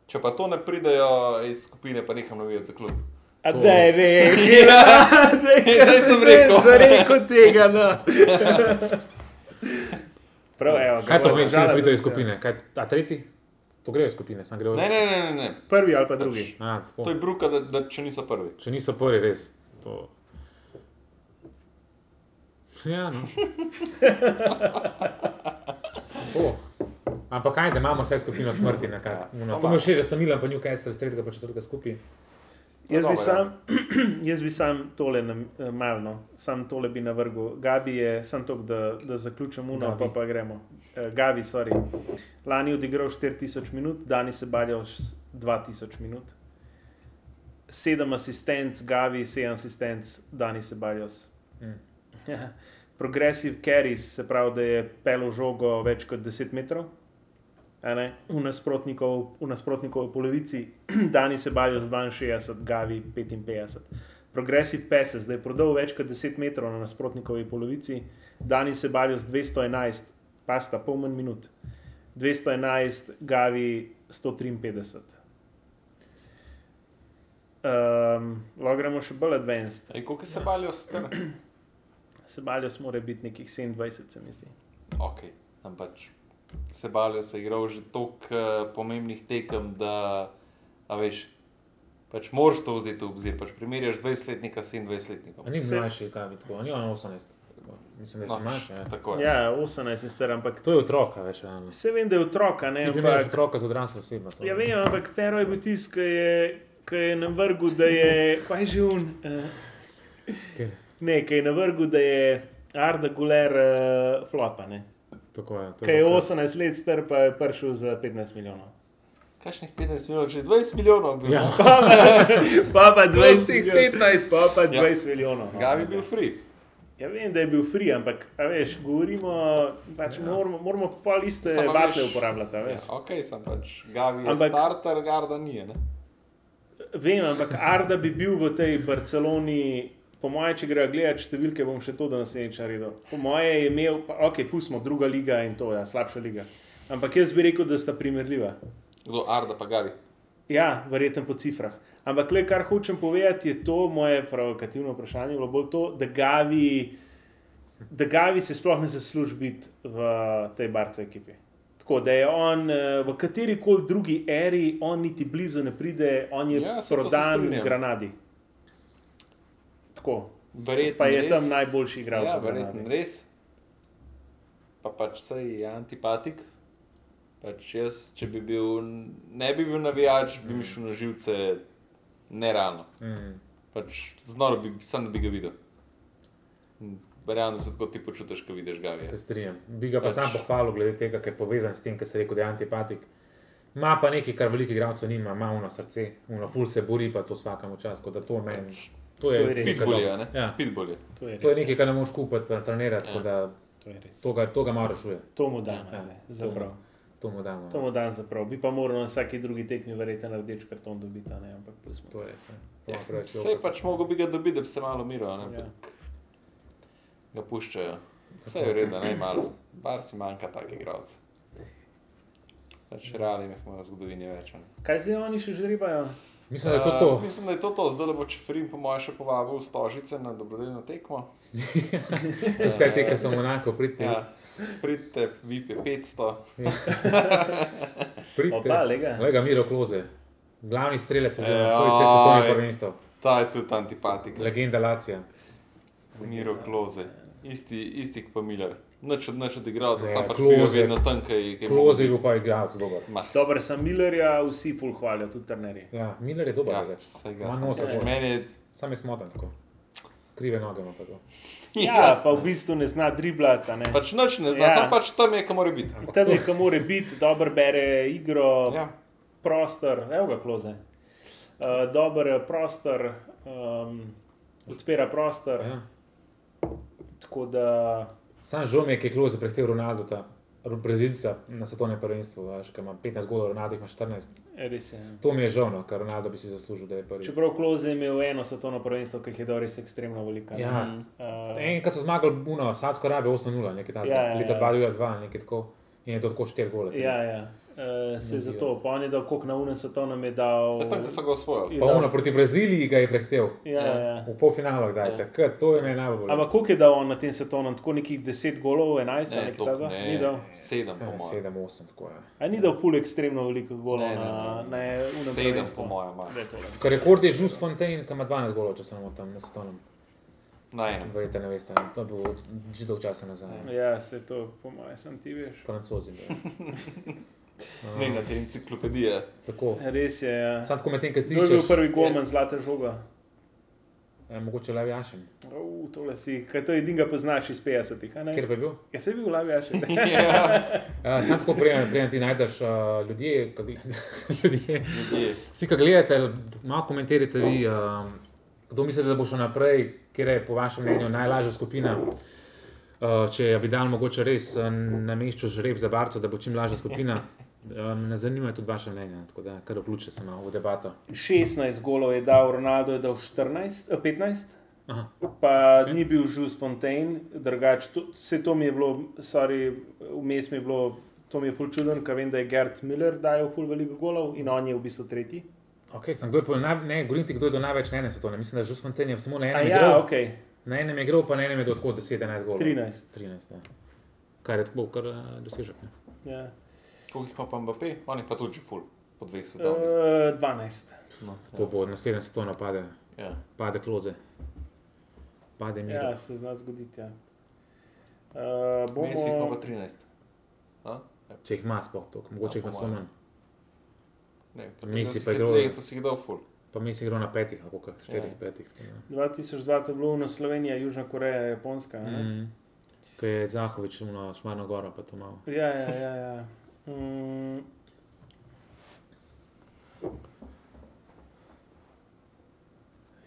S2: Če pa to ne pridejo iz skupine, pa neham navijati za klub.
S3: A
S1: To-
S3: da je rekel, da
S2: Zdaj sem rekel.
S3: Sem rekel tega. No. Prav, evo, ga
S1: Kaj to
S3: bomo
S1: pomeni, če
S3: držala
S1: ne pridejo
S3: za
S1: iz
S3: vse.
S1: skupine? Kaj, a tretji? To grejo iz skupine, sam grejo.
S2: Ne, ne, ne, ne. ne.
S3: Prvi ali pa drugi.
S1: A,
S2: To je
S1: tako.
S2: bruka, da, da če niso prvi.
S1: Če niso prvi, res. To... Ja, no. Tako. Ampak kaj, da imamo vse skupino smrti na
S2: Ja.
S1: kaj. No, to mi je všeč, da sta Milan pa Newcastle, tretjega pa četrtega skupaj.
S3: Jaz
S2: Dobro,
S3: bi,
S2: ja.
S3: sam, jaz bi sam tole nam, eh, malo, no. sam tole bi navrgel. Gabi je, sam to, da, da zaključim uno,
S1: Gabi.
S3: pa pa gremo. Eh, Gavi, sorry. Lani je odigral 4000 minut, Dani se baljal s 2000 minut. Sedem asistenc, Gavi, sedem asistenc, Dani se baljal.
S1: Mm.
S3: Progressive carries, se pravi, da je pelo žogo več kot 10 metrov. a ne, v, nasprotnikov, v nasprotnikov polovici, Dani se bavijo z 62, Gavi 55. Progressive passes, da je prodal več kot 10 metrov na nasprotnikovi polovici, Dani se bavijo z 211, pasta pol manj minut, 211, Gavi 153. Um, Lahko gremo še bolj advanced.
S2: Ej, koliko se balijo s tem?
S3: Sebaljo smo morali biti nekih 27, se mi zdi.
S2: Ok, tam pač se balijo, se je igral že toliko eh, pomembnih tekem, da a veš. Pač moraš to vzeti v obzir, pač primerjaš 20-letnika s 27-letnikom.
S1: A Ni
S3: Se-
S1: mlajši, kaj bi tako, ni on 18. Mislim, da je še mlajši. ne.
S2: No, Tako je.
S3: Ja, 18 je star, ampak
S1: To je otrok, a veš. a
S2: Ja,
S1: ne.
S3: vse vem, da je otrok, a ne
S1: Ti primerjaš
S3: ampak.
S1: otroka z odraslo osebo. to-
S3: Ja, vem, ampak Pero je bil tisti, ki je, ki je na vrhu, da je. Kaj je že un? Uh,
S1: Ker-
S3: ne, ki je na vrhu, da je Arda Guler uh, flopa. ne.
S1: Tako je. to
S3: Ki je
S1: kar-
S3: 18 let star, pa je prišel za 15 milijonov.
S2: Kakšnih 15 milijonov, že 20 milijonov bi
S1: Ja.
S2: bilo.
S3: Pa pa 20,
S2: Sploh teh
S3: milijonov. pa pa
S2: Ja.
S3: 20 milijonov. no.
S2: Gavi bil free.
S3: Ja, vem, da je bil free, ampak a veš, govorimo, pač ja. moramo, moramo pa iste
S2: Samo
S3: vatle
S2: veš-
S3: uporabljati. a
S2: Ja,
S3: Veš.
S2: ok, sem pač Gavi je
S3: Ampak-
S2: starter, Garda ni. a Ne?
S3: Vem, ampak Arda bi bil v tej Barceloni, po moje, če gre gledati številke, bom še to do naslednjič naredil. Po moje je imel, pa, ok, pustimo druga liga in to, ja, slabša liga. Ampak jaz bi rekel, da sta primerljiva.
S2: Kdo Arda pa Gavi?
S3: Ja, verjetno po cifrah. Ampak le kar hočem povedati, je to moje provokativno vprašanje, bilo bolj to, da Gavi, da Gavi se sploh ne zasluži biti v tej barce ekipi. Tako da je on eh, v kateri koli drugi eri, on niti blizu ne pride, on je
S2: Ja,
S3: ja,
S2: saj to se
S3: prodan v
S2: strinjam.
S3: Granadi. Tako.
S2: Verjetno
S3: Pa je
S2: res.
S3: tam najboljši igralec.
S2: Ja,
S3: v
S2: verjetno
S3: Granadi.
S2: res. Pa pač sej je antipatik. Pač jaz, če bi bil, ne bi bil navijač, bi mi šel na živce nerealno.
S1: Mm.
S2: Pač znoro bi, sam da bi ga videl. In Verjamem, da se tako ti počutiš, ko vidiš ga.
S1: Se strinjam. Bi ga pa
S2: Pač-
S1: sam pohvalil, glede tega, ker je povezan s tem, kar se reče, da je antipatik. Ma pa nekaj, kar veliko igralcev nima, ima uno srce, uno ful se bori, pa to vsakemu čas. tako Da to, meni, to, je,
S3: To je res.
S1: nekaj
S2: Pitbull je,
S1: dobro.
S2: ne?
S1: Ja.
S2: Pitbull je.
S3: To je
S1: To je
S3: res.
S1: nekaj, kar ne moreš kupiti, pa trenirati, tako
S2: Ja.
S1: da
S3: To, je res.
S1: to ga, to ga malo rešuje.
S3: to mu dam,
S1: Ja,
S3: ja,
S1: to
S3: za
S1: mu-
S3: prav.
S1: To mu damo.
S3: To mu dan zaprav. Bi pa moral na vsaki drugi tekmi verjeti na rdeč karton dobiti, a ne, ampak pustimo.
S1: To je res. ne. To
S2: Ja.
S1: ima preveč
S2: Sej
S1: joker.
S2: pač mogo bi ga dobiti, da bi se malo umiral, ne? Pač
S3: Ja.
S2: ampak ga puščajo. Vse je vredno, naj malo. Bar si manjka takih igralcev. Pač realno jih imamo v zgodovini več. a Ne?
S3: Kaj zdaj oni še žribajo?
S1: Mislim, da je to to.
S2: Eh, mislim, da je to to. Zdaj le bo Čefrin, po mojem, še povabil v Stožice na dobrodelno tekmo.
S1: Vse te, ki so v Monaku, pridite.
S2: Ja. Pridite, VIP je 500.
S1: Pridite.
S3: Opa, lega.
S1: Lega Miro Kloze, glavni strelec v
S2: Ejoj.
S1: svetovnem prvenstvu,
S2: Ta je tudi antipatik.
S1: legenda Lacija.
S2: Miro Kloze. Isti, isti kot pa Miller. Nič od nič od igralcev,
S1: Ne,
S2: sam pač
S1: Ja, Klose-
S2: bil vedno tam, kaj je.
S1: Kloze je bil pa igralec dober.
S3: Dobro, sem Millerja, vsi ful hvalijo, tudi trenerji.
S1: Ja, Miller je dober,
S2: Ja,
S1: ja,
S2: saj ga
S1: ima
S2: sem-
S1: nosa. gor.
S2: Meni je
S1: Sam je smotan tako. Krive noge ima pa to.
S3: Ja, pa v bistvu ne zna driblati. a Ne.
S2: Pač nič ne zna,
S3: Ja.
S2: ja. samo pač tam je, kamor je biti.
S3: Tam je, kam mora biti, dobro bere igro,
S2: Ja.
S3: ja. prostor, evo ga kloze. Uh, dober prostor, um, odpira prostor. Ja.
S1: Ja.
S3: Tako da,
S1: Sam žal mi je, ki je Kloze prehtel Ronaldo, ta Brazilca na svetovnem prvenstvu, veš, ki ima 15 golov, Ronaldo jih ima 14.
S3: e, res je.
S1: To mi je žal, no, ker Ronaldo bi si zaslužil, da je prvi.
S3: Čeprav kloze je imel eno svetovno prvenstvo, ki jih je dal res ekstremno veliko. a ne.
S1: Ja.
S2: Mm.
S3: Uh,
S1: Enkrat so zmagali Buno, Sadsko Arabijo 8-0, nekaj takega,
S3: Ja, ja,
S1: leta
S3: ja.
S1: 2002, nekaj tako. In je to tako 4 gole.
S3: ja, ja. Uh, se je
S1: Ne bi
S3: zato, pa on je dal koliko na unem svetovnem, je dal.
S2: Ja, tam, ko so ga osvojili.
S1: Pa ono proti Braziliji ga je prehtel.
S3: Ja, ja. ja.
S1: V polfinalu, kdaj je
S2: Ja.
S1: takrat, to je meni najbolj.
S3: Ampak koliko je dal on na tem svetovnem, tako nekih 10 golov, 11, ne,
S2: Ne,
S3: nekaj
S2: to,
S3: takega? Ni dal.
S2: ne, sedem,
S1: Ja,
S2: po mojem.
S1: 7-8, tako ja. je.
S3: A ni dal full ekstremno veliko golov
S2: Ne, ne,
S3: na na enem
S2: Sedem, po mojem. ja. ima.
S1: Ker rekord je Žus Fontaine, ki ima 12 golov, če samo tam na svetovnem.
S2: Na
S3: Ah.
S2: enem.
S1: Verjete, ne veste, ne? to je bilo že dolgo časa nazaj.
S3: Ja, se to, po mojem, sem ti veš.
S1: Francozi. Ne?
S2: Ne, na te enciklopedije. Ja.
S1: Tako.
S3: Res je. Ja.
S1: Sam tako medtem, ko ti
S3: Kdo je bil
S1: iščeš,
S3: prvi golman zlate žoga?
S1: eh, mogoče Lavjašem.
S3: Uf, tole si, kaj to edinega poznaš iz 50-ih, a ne?
S1: Kjer pa je bil?
S3: Ja, se je bil Lavija še.
S2: Ja,
S1: Uh, sam tako prijem, prijem ti najdeš uh, ljudje, ki gled- ljudje.
S2: ljudje.
S1: Vsi, ki gledate, malo komentirajte vi, uh, kdo mislite, da bo šel naprej, kje je po vašem mnenju najlažja skupina. Eh, Uh, če je Vidal mogoče res uh, nameščal žreb za barco, da bo čim lažja skupina. Um, ne zanimajo tudi vaše mnenja, tako da kar vključite se malo v debato.
S3: 16 golov je dal, Ronaldo je dal 14, eh, 15,
S1: Aha.
S3: pa
S1: Ok.
S3: okay. ni bil Jules Fontaine, drugače to- vse to mi je bilo, sorry, vmes mi je bilo, to mi je ful čuden, ker vem, da je Gerd Miller dajal ful veliko golov in on je v bistvu tretji.
S1: Okay, sem kdo je po naj- ne, govorim ti, kdo je do največ na enem svetovnem. Mislim, da je Žus Fonten je samo na
S3: A
S1: enem
S3: ja,
S1: igral.
S3: ok,
S1: Na enem je igral, pa na enem je do tako 10-11 golov.
S3: 13.
S1: 13, ja. Kar je tako, kar uh, dosežek. ne.
S3: Ja.
S2: Koliko jih pa pa Mbappé, on je pa tudi že full, po dveh svetovnih.
S3: Uh, 12.
S2: No,
S1: Ko bo naslednje svetovno pade,
S2: ja. ja.
S1: pade kloze. Pade mi.
S3: Ja,
S1: Ja.
S3: se zna zgoditi. Ja. Uh,
S2: Bomo... Mesih ima
S3: bomo...
S2: pa 13. A?
S1: Če jih ima sploh toliko, mogoče
S2: Ja,
S1: jih ima
S2: po
S1: sploh
S2: moje.
S1: manj.
S2: Ne,
S1: Messi
S2: to
S1: pa
S2: si-
S1: je drugo.
S2: ne, To si jih dal full.
S1: Pa mi si igral na petih, ali kako, štirih,
S2: Ja.
S1: petih. tako da.
S3: 2002 to je bilo na Slovenija, Južna Koreja, Japonska. Mm.
S1: Mm. Ko je Zahovič umno šmarno goro, pa to malo.
S3: Ja, ja, ja. ja. Mm.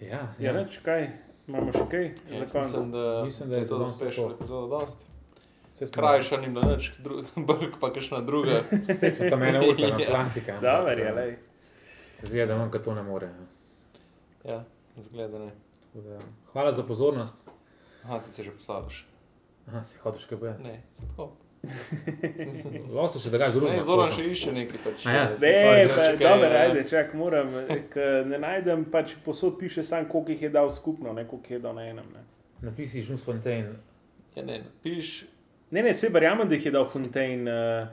S1: Ja, ja.
S3: Ja, reč, kaj imamo še kaj za
S2: Jaz
S3: konec?
S2: mislim, da,
S1: Mislim, da je za
S2: to
S1: danes
S2: uspešno
S1: to.
S2: epizodo dosti.
S1: Vse smo-
S2: Krajša ni bila nič, dru- brk pa kakšna druga.
S1: Spet smo tam ena ura, no,
S2: Ja.
S1: klasika. ampak,
S3: Da,
S1: eh,
S3: verjele.
S1: Zgleda, da vam to ne more. ja.
S2: ja, zgleda ne.
S1: Tako da, Hvala za pozornost.
S2: Aha, ti se že poslaviš.
S1: Aha, si hotel še kaj povedati.
S2: Ne, se tako.
S1: Lahko se še dogaja z drugim.
S2: Ne, Zoran še išče nekaj. Pač,
S1: A ja.
S2: eh, se-
S3: Ne,
S2: sorry,
S3: pa,
S2: čakaj,
S3: dober,
S2: eh,
S3: ajde, čak, moram, ker ne najdem, pač posod piše sam, koliko jih je dal skupno, ne koliko jih je dal na enem. Ne,
S1: Napisi Žun Fontaine.
S2: Ja, ne, piš,
S3: ne, ne se verjamem, da jih je dal Fontaine uh,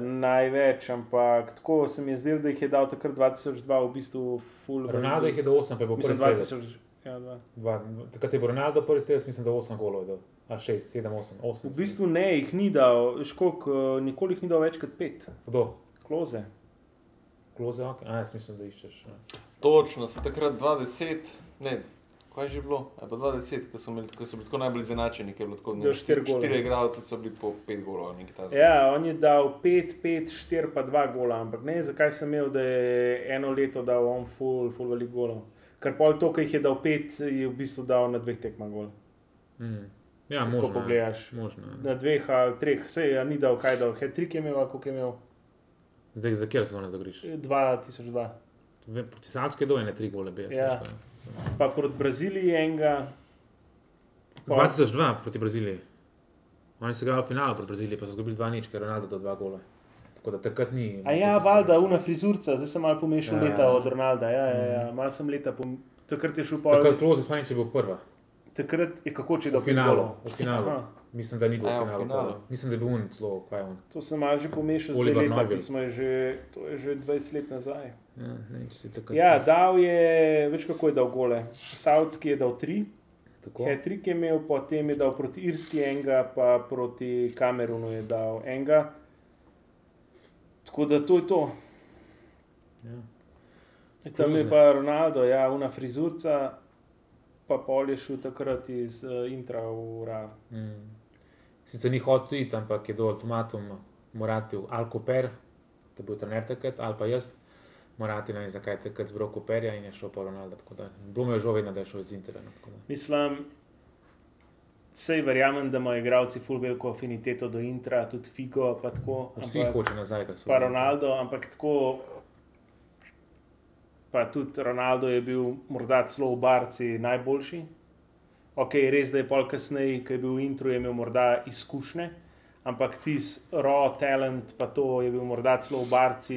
S3: največ, ampak tako se mi je zdelo, da jih je dal takrat 2002, v bistvu full.
S1: Ronaldo jih je do 8, pa je bil prvi
S3: Mislim,
S1: strelec.
S3: 2000, ja, dva.
S1: Dva- Takrat je bil Ronaldo prvi strelec, mislim, da 8 golov je dal. A 6, 7, 8, 8.
S3: V bistvu ne, jih ni dal, škok, eh, nikoli jih ni dal več kot pet,
S1: Kdo?
S3: kloze.
S1: Kloze, ok. A, jaz mislim, da iščeš. ja.
S2: točno, se takrat 20, ne, kaj je že bilo, ali pa 20, ko so, imeli, ko so bili tako najbolj izenačeni, ki je bilo tako, ne,
S3: Do štiri gola.
S2: štiri igralce so bili po pet golov, ali nekaj takega.
S3: Ja, on je dal 5, 5, 4, pa 2 gola, ampak ne, zakaj sem imel, da je eno leto dal on full, full velik golov. Ker pol to, ki jih je dal 5, je v bistvu dal na dveh tekmah gol.
S1: Mm. Ja,
S3: Tako
S1: možno. je.
S3: pogledaš.
S1: Možno. ja. je.
S3: Na dveh ali treh, vse je ni dal kaj dal, hetrik je imel, ali koliko je imel,
S1: Zdaj, za kjer se ne zagriš?
S3: 2002.
S1: Proti Sanske do ene, tri gole bi jaz.
S3: Ja.
S1: rekel, ja.
S3: Pa proti Braziliji enega. pol-
S1: 2002 proti Braziliji. Oni so igrali v finalu proti Braziliji, pa so izgubili 2-0, ker je Ronaldo do 2 gola. Tako da takrat ni.
S3: A ja, valjda, una frizurca, zdaj sem malo pomešal
S1: Ja. Mhm.
S3: ja. leta od Ronalda. Ja, ja, ja, malo sem leta, pom... takrat je šel pol.
S1: Takrat Kloze Spanič je bil prva.
S3: Takrat je kako če
S1: V
S3: da
S1: finalu, v finalu.
S3: Aha.
S1: Mislim, da ni bil
S2: A ja,
S1: v
S2: v
S1: finalu.
S2: finalu.
S1: prva. Mislim, da je bil un celo, kaj je un.
S3: To sem malo že pomešal z
S1: Oliver
S3: leta,
S1: Nagel.
S3: ki smo je že, to je že 20 let nazaj.
S1: Ja, ne, če si takrat.
S3: Ja, dal je, več kako je dal gole. Saudski je dal tri,
S1: tako.
S3: Hetrik je imel, potem je dal proti Irski enega, pa proti Kamerunu je dal enega. Tako da to je to.
S1: Ja.
S3: Tam je
S1: Crazy.
S3: pa Ronaldo, ja, una frizurca, pa pol je šel takrat iz uh, Intra v Real.
S1: Mm. Sicer ni hotel iti, ampak je do ultimatuma moratil ali Koper, da bo trener takrat, ali pa jaz. Morati ne vem, zakaj je takrat zbral Koperja in je šel po Ronaldo. tako da. Bilo mi je žal vedno, da je šel iz Interja. no, tako da.
S3: Mislim, sej verjamem, da imajo igralci ful veliko afiniteto do Intra, tudi Figo, pa tako.
S1: Vsi
S3: ampak-
S1: hoče nazaj, kaj so.
S3: Pa Ronaldo, ampak tako. Pa tudi Ronaldo je bil morda celo v Barci najboljši. Ok, res da je pol kasneje, ki je bil v Intru, je imel morda izkušnje, ampak tisti raw talent, pa to je bil morda celo v Barci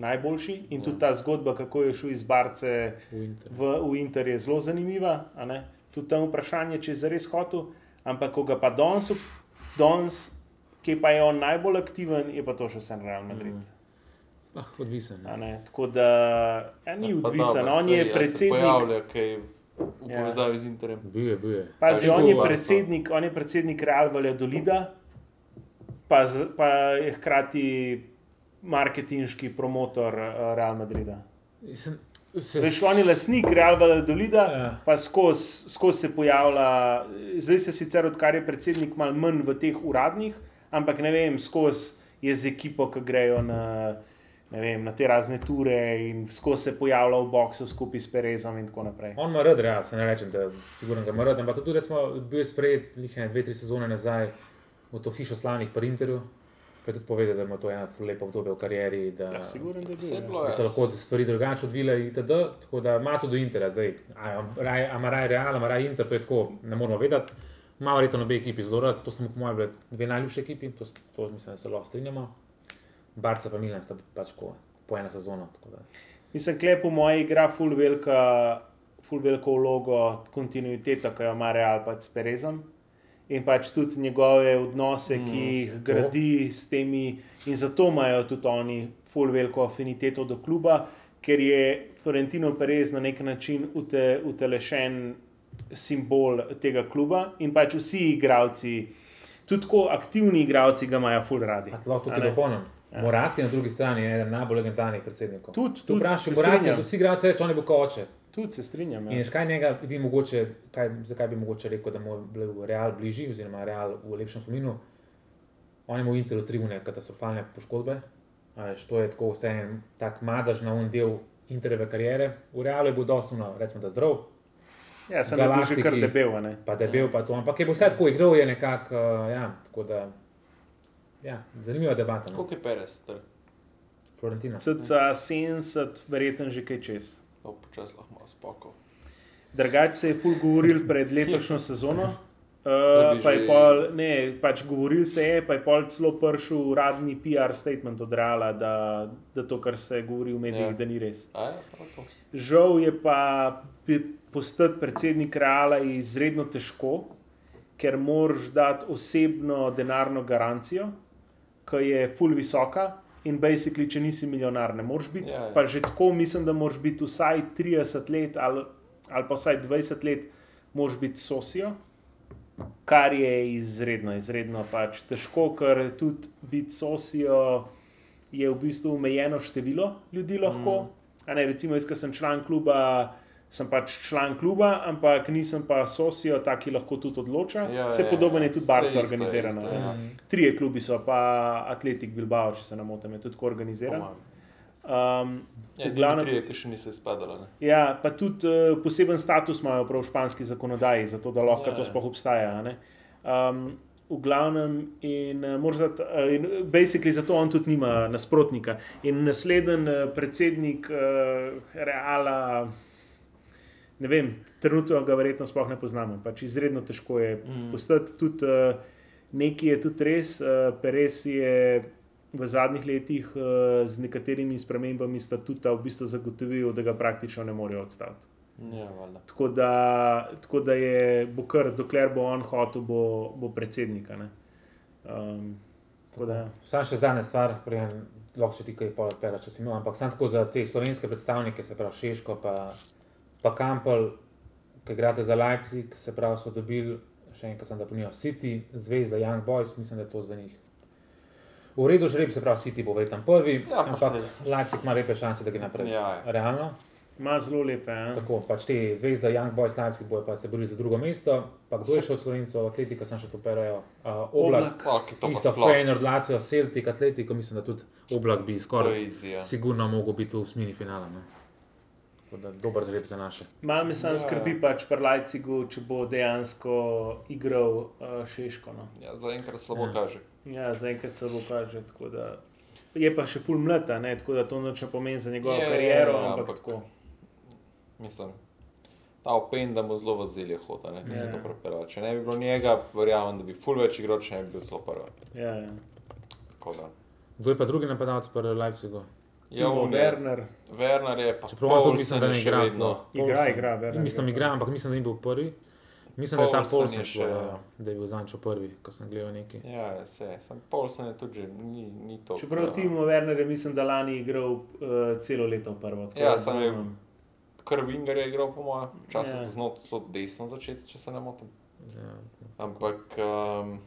S3: najboljši. In tudi ta zgodba, kako je šel iz Barce
S1: v Inter.
S3: v, v Inter je zelo zanimiva. a ne. Tudi tam vprašanje, če je zares hotel, ampak ko ga pa danes, up- danes, ki pa je on najbolj aktiven, je pa to še vsem Real Madrid.
S1: Ah, odvisen.
S3: a ne. Tako da ja, ni
S2: Ja, Mm, pa
S3: odvisen,
S2: dobro,
S3: on je
S2: saj, ja, se
S3: predsednik.
S2: Pojavlja, kaj v
S3: Ja.
S2: povezavi z Interjem.
S1: Bil je, bil je.
S3: Pazi,
S2: Pa
S3: on
S2: že
S3: je
S2: bil,
S3: predsednik, on je predsednik Real Valladolida, pa, z, pa je hkrati marketinški promotor eh, Real Madrida.
S1: Mislim, se,
S3: Veš, on je lastnik Real Valladolida,
S1: Ja.
S3: ja. pa skozi skoz se pojavlja, zdaj se sicer odkar je predsednik malo manj v teh uradnih, ampak ne vem, skozi je z ekipo, ki grejo na, ne vem, na te razne ture in skozi se pojavlja v boksu skupaj s Perezom in tako naprej.
S1: On ima rad, ja, se ne rečem, da sigurno ga ima rad, ampak tudi recimo, bil je sprejet nekaj dve, tri sezone nazaj v to hišo slavnih pri Interju. Pa je tudi povedal, da ima to eno ful lepo obdobje v karieri, da
S3: Ja, siguren, da je
S2: Saj je
S3: bil.
S2: bilo,
S3: ja.
S1: bi se lahko stvari drugače odvile itd. Tako da ima to do Intera zdaj. A ima raje- a ima raje Real, a ima raje Inter, to je tako, ne moramo vedeti. Ima verjetno obe ekipi zelo rad, to smo po mojem bile dve najljubši ekipi, to, s- to mislim, da se lahko strinjamo. Barca pa Milan sta pač ko, po eno sezono. tako da.
S3: Mislim, klep v moji igra ful velika, ful veliko vlogo, kontinuiteta, ki jo ima Real pač s Perezom. In pač tudi njegove odnose, mm, ki jih
S1: to.
S3: gradi s temi, in zato imajo tudi oni ful veliko afiniteto do kluba, ker je Florentino Perez na nek način ute, utelešen simbol tega kluba in pač vsi igravci, tudi tako aktivni igravci, ga imajo ful radi.
S1: A ti lahko
S3: A
S1: tukaj
S3: ne? Ja.
S1: doponem. Morati na drugi strani je eden najbolj legendarnih predsednikov.
S3: Tudi,
S1: Tu
S3: tudi,
S1: vprašaj,
S3: se
S1: Morati,
S3: strinjam.
S1: vsi igrači reče, on je bil kot oče.
S3: Tudi se strinjam.
S1: In
S3: Ja.
S1: veš, kaj njega, vidi, mogoče, kaj, zakaj bi mogoče rekel, da mu je bil Real bližji, oziroma Real v lepšem spominu. On je imel v Interu tribune katastrofalne poškodbe, a veš, to je tako vse en tak madež na un del Intereve kariere. V Realu je bil dostupno, recimo, da zdrav,
S3: Ja, sem bil že kar
S1: Galaktiki.
S3: debel, a ne.
S1: pa da je
S3: Ja.
S1: bil pa to, ampak je bil vse tako igral, je nekako, uh, ja, tako da, ja, zanimiva debata. No?
S2: Koliko je Perez, ter
S1: Florentina.
S3: Cca 70, verjetno že kaj čez.
S2: No, počasi lahko malo spoko.
S3: Drugače se je ful govoril pred letošnjo sezono.
S2: Da
S3: Uh,
S2: bi
S3: pa je
S2: že-
S3: pol, ne, pač govoril se je, pa je pol celo prišel uradni PR statement od Reala, da, da to, kar se govori v
S2: Ja.
S3: medijih, da ni res.
S2: A ja, tako.
S3: Žal je pa pi- postati predsednik Reala izredno težko, ker moraš dati osebno denarno garancijo, ki je full visoka. In basically, če nisi milijonar, ne moreš biti.
S2: Ja, ja.
S3: Pa že tako mislim, da moraš biti vsaj 30 let ali, ali pa vsaj 20 let, moraš biti sosijo, kar je izredno, izredno pač težko, ker tudi biti sosijo je v bistvu omejeno število ljudi lahko. Mm. Ne, recimo, jaz, ki sem član kluba, sem pač član kluba, ampak nisem pa sosijo, ta, ki lahko tudi odloča.
S2: Ja,
S3: Vse
S2: ja,
S3: podoben
S2: ja.
S3: je tudi
S2: Saj
S3: barca
S2: isto,
S3: organizirana.
S2: isto,
S3: ne.
S2: ja.
S3: Trije klubi so, pa Atletik Bilbao, če se ne motim, je tudi tako organiziran. Um,
S2: Ja,
S3: v
S2: glavno
S3: glavnem,
S2: trije, Ja, ki še niso izpadali. ne.
S3: Ja, pa tudi uh, poseben status imajo prav v španski zakonodaji, zato da lahko
S2: Ja,
S3: to
S2: ja.
S3: sploh obstaja. a ne. Um, v glavnem, in uh, morda, uh, in eh, basically zato on tudi nima nasprotnika. In naslednji uh, predsednik uh, Reala, ne vem, trenutno ga verjetno sploh ne poznamo, pač izredno težko je mm.
S2: Mm.
S3: postati tudi. Uh, Nekaj je tudi res, uh, Perez je v zadnjih letih eh, z nekaterimi spremembami statuta v bistvu zagotovil, da ga praktično ne morejo odstaviti.
S2: Ja, valjda.
S3: Tako da, tako da je, bo kar, dokler bo on hotel, bo, bo predsednik. a ne. Um, tako da, ja.
S1: Sam še zadnja stvar, preden lahko še ti kaj pojela, če si imel, ampak samo tako za te slovenske predstavnike, se pravi Šeško, pa, pa Kampel, ki igrate za Leipzig, se pravi so dobili, še enkrat sem da ponijo, City, Zvezda, Young Boys, mislim, da je to za njih. V redu žreb, se pravi City bo verjetno prvi,
S2: Ja, pa
S1: ampak
S2: saj.
S1: Leipzig ima lepe šanse, da gre naprej.
S2: Ja, ja.
S1: Realno.
S3: ima zelo lepe. a?
S1: Tako, pač te zvezde, Young Boys, Leipzig bojo pa se borili za drugo mesto, pa kdo je še od Slovencev, Atletika, sam še to perajo, uh, Oblak.
S3: Oblak.
S2: Ok, to pa
S1: Isto
S2: sploh.
S1: Feyenoord, Lazio, Celtic, Atletico, mislim, da tudi Oblak bi
S2: To
S1: skoraj
S2: je ja. izjija.
S1: sigurno mogel biti v osmini finala. Ne? Tako da dober zreb za naše.
S3: Malo me samo
S2: Ja.
S3: skrbi, pač pri Leipzigu, če bo dejansko igral uh, Šeško. No.
S2: Ja, zaenkrat slabo
S1: Ja.
S2: kaže.
S3: Ja, zaenkrat se bo kaže. tako Da... Je pa še full mlad, a ne, tako da to noče pomeni za njegovo
S2: Ja, ja, ja,
S3: kariero,
S2: ja,
S3: ampak,
S2: ampak-
S3: ampak tako.
S2: Mislim, ta open, da mu zelo v zelje hoda, ne, ki se
S3: Ja.
S2: to prepera. Če ne bi bilo njega, verjamem, da bi full več igral, če ne bi bil zelo prva.
S3: Ja, ja.
S2: Tako da.
S1: Kdo je pa drugi napadalec pri Leipzigu?
S2: Ja,
S3: Timo
S2: on je-
S3: Werner.
S2: Werner je pa.
S1: Čeprav on tudi
S2: Poulsen
S1: mislim, da
S2: je
S1: ne
S2: še
S1: igra
S2: vedno-
S1: sploh.
S3: Igra,
S1: Poulsen-
S3: igra, Werner
S1: Mislim,
S3: igra. ja.
S1: igra, ampak mislim, da ni bil prvi. Mislim, da je ta
S2: Poulsen je
S1: Polsen,
S2: še,
S1: šlo,
S2: ja.
S1: da je bil zančo prvi, ko sem gledal neki.
S2: Ja, se, sem Polsen je tudi, že- ni, ni to. Ja.
S3: Čeprav Timo Werner je, mislim, da lani igral uh, celo leto v prvo. tako
S2: Ja,
S3: da
S2: samo je-
S3: dvomim.
S2: Krvinger je igral, po mojem, včasih
S3: Ja.
S2: yeah. znal tudi desno začeti, če se ne motim.
S1: Ja.
S2: Ampak, um,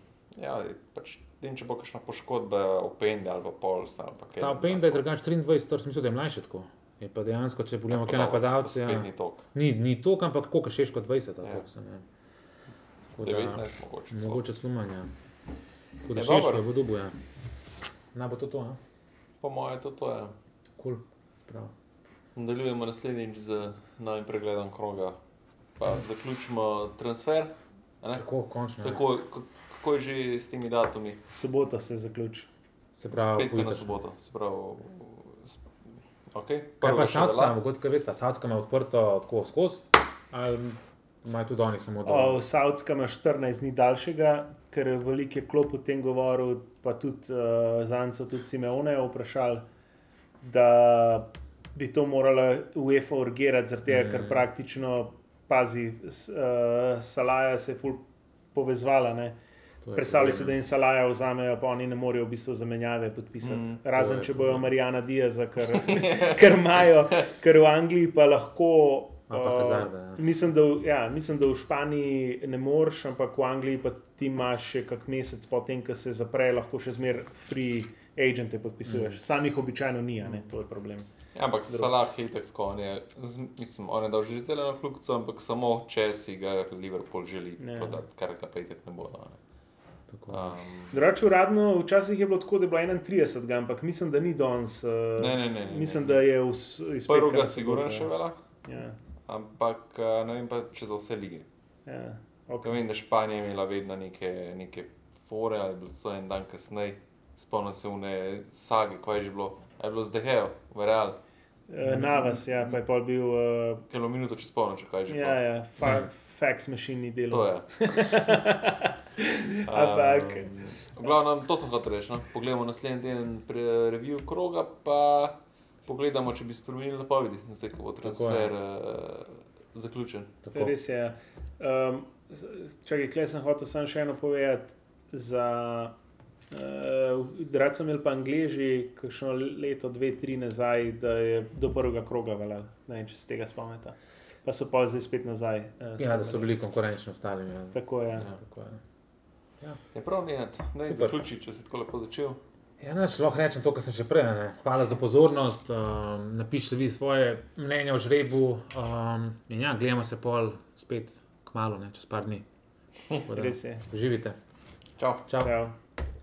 S2: ja, pač, in če bo kakšna poškodba, opende ali pa polsna ali pa kaj.
S1: Ta Open, da je drugače 23, torej mislim, da je mlajši tako. Je pa dejansko, če pogledamo, kaj napadalce.
S2: Ja.
S1: Ja.
S2: Ni tok,
S1: Ni, ni to, ampak koliko še kot 20, ali
S2: Ja.
S1: koliko sem. ja. Tako da-
S2: 19 mogoče. celo.
S1: Mogoče slumanja. Tako da
S2: Je
S1: še
S2: dobro.
S1: nekaj bo dubu, ja. Naj bo to to, a?
S2: Po mojem, to, to je.
S1: Kul. Cool.
S2: Nadaljujemo naslednjič z novim pregledom kroga. Pa zaključimo transfer. a ne?
S1: Tako, končno. ja.
S2: Kako, kako je že s temi datumi?
S3: Sobota se zaključi.
S1: Se
S2: Prav,
S1: pravi,
S2: spet na
S1: pojutrašnjem.
S2: soboto. Se pravi, sp... okay.
S1: Kaj
S2: prvo
S1: pa
S2: še
S1: Saudska,
S2: velja.
S1: mogoče veste, Saudska ima odprto tako skozi, ali imajo tudi oni samo
S3: O,
S1: dol?
S3: v Saudska ima 14 dni daljšega, ker veliko je klop o tem govoril, pa tudi uh, Zanco, tudi Simeoneja vprašali, da bi to morala UEFA urgirati, zaradi tega, ker
S1: Mm.
S3: praktično pazi, s- uh, Salaja se je ful povezvala. Ne?
S1: To je
S3: Predstavljaj si,
S1: problem,
S3: da jim Salaja vzamejo, pa oni ne morejo v bistvu zamenjave podpisati.
S2: Mm,
S3: Mm,
S1: to
S3: Razen,
S1: je
S3: če
S1: problem.
S3: bojo Marijana Diaza, ker, ker imajo, ker v Angliji pa lahko.
S1: A pa
S3: eh,
S1: Hazarda, ja.
S3: mislim, da, v- ja, mislim, da v Španiji ne moreš, ampak v Angliji pa ti imaš še kak mesec potem, ko se zapre, lahko še zmeraj free agente podpisuješ. Mm. Samih običajno ni, a ne? to je problem.
S2: Ja, ampak Salah je itak tako, on je, z- mislim, on je dal že zelo na kljubico, ampak samo če si ga Liverpool želi
S1: Ja.
S3: Ne.
S2: prodati, kar ga pa itak ne bo. No, ne.
S1: Tako.
S2: Um,
S3: Drugače, uradno včasih je bilo tako, da je bilo 31, ampak mislim, da ni danes. eh,
S2: Ne, ne, ne, ne, ne.
S3: Mislim, da je vse.
S2: prvega sigurno še velja,
S3: Ja,
S2: ampak eh, ne vem pa, če za vse lige.
S3: ja, okay.
S2: Ker vem, da Španija je imela vedno neke, neke fore, ali je bilo vse en dan kasneje, spomnim se vne sage, kaj je že bilo, A je bilo zdaj hejo, verjal,
S3: Eh, Navas, ja, pa je pol bil. Uh,
S2: kilo minuto čez polnoč, kaj je že bilo.
S3: ja, ja, fa, fax mašin ni
S2: Hm. To
S3: delo.
S2: je. Ehm.
S3: Ampak-
S2: Um, glavno, to sem hotel reči. No? Poglejmo naslednji teden pre- review kroga, pa pogledamo, če bi spremenili napovedi, zdaj ko bo transfer uh, zaključen.
S1: Tako.
S3: Res je. Um, čakaj, klej sem hotel samo še eno povedati. Za, uh, rad sem imel pa angliži, kakšno leto, dve, tri nazaj, da je do prvega kroga veljal. Ne vem, če se tega spomnite. Pa so pa zdaj spet nazaj. eh,
S1: Ja, da so
S3: spomnili.
S1: bili konkurenčni ostalim. Ja.
S3: Tako je. Ja.
S2: Ja.
S1: Tako je.
S2: Je prav, Nenad, da
S1: Super.
S2: zaključi, če si tako lepo začel.
S1: Ja, naš, lahko rečem to, kar sem že prej. Ne. Hvala za pozornost. Um, napišite vi svoje mnenje o žrebu. Um, in ja, gledamo se pol spet k malu, čez par dni. Tako da,
S3: Res je.
S1: Živite.
S2: Čau.
S1: Čau.
S3: Prav.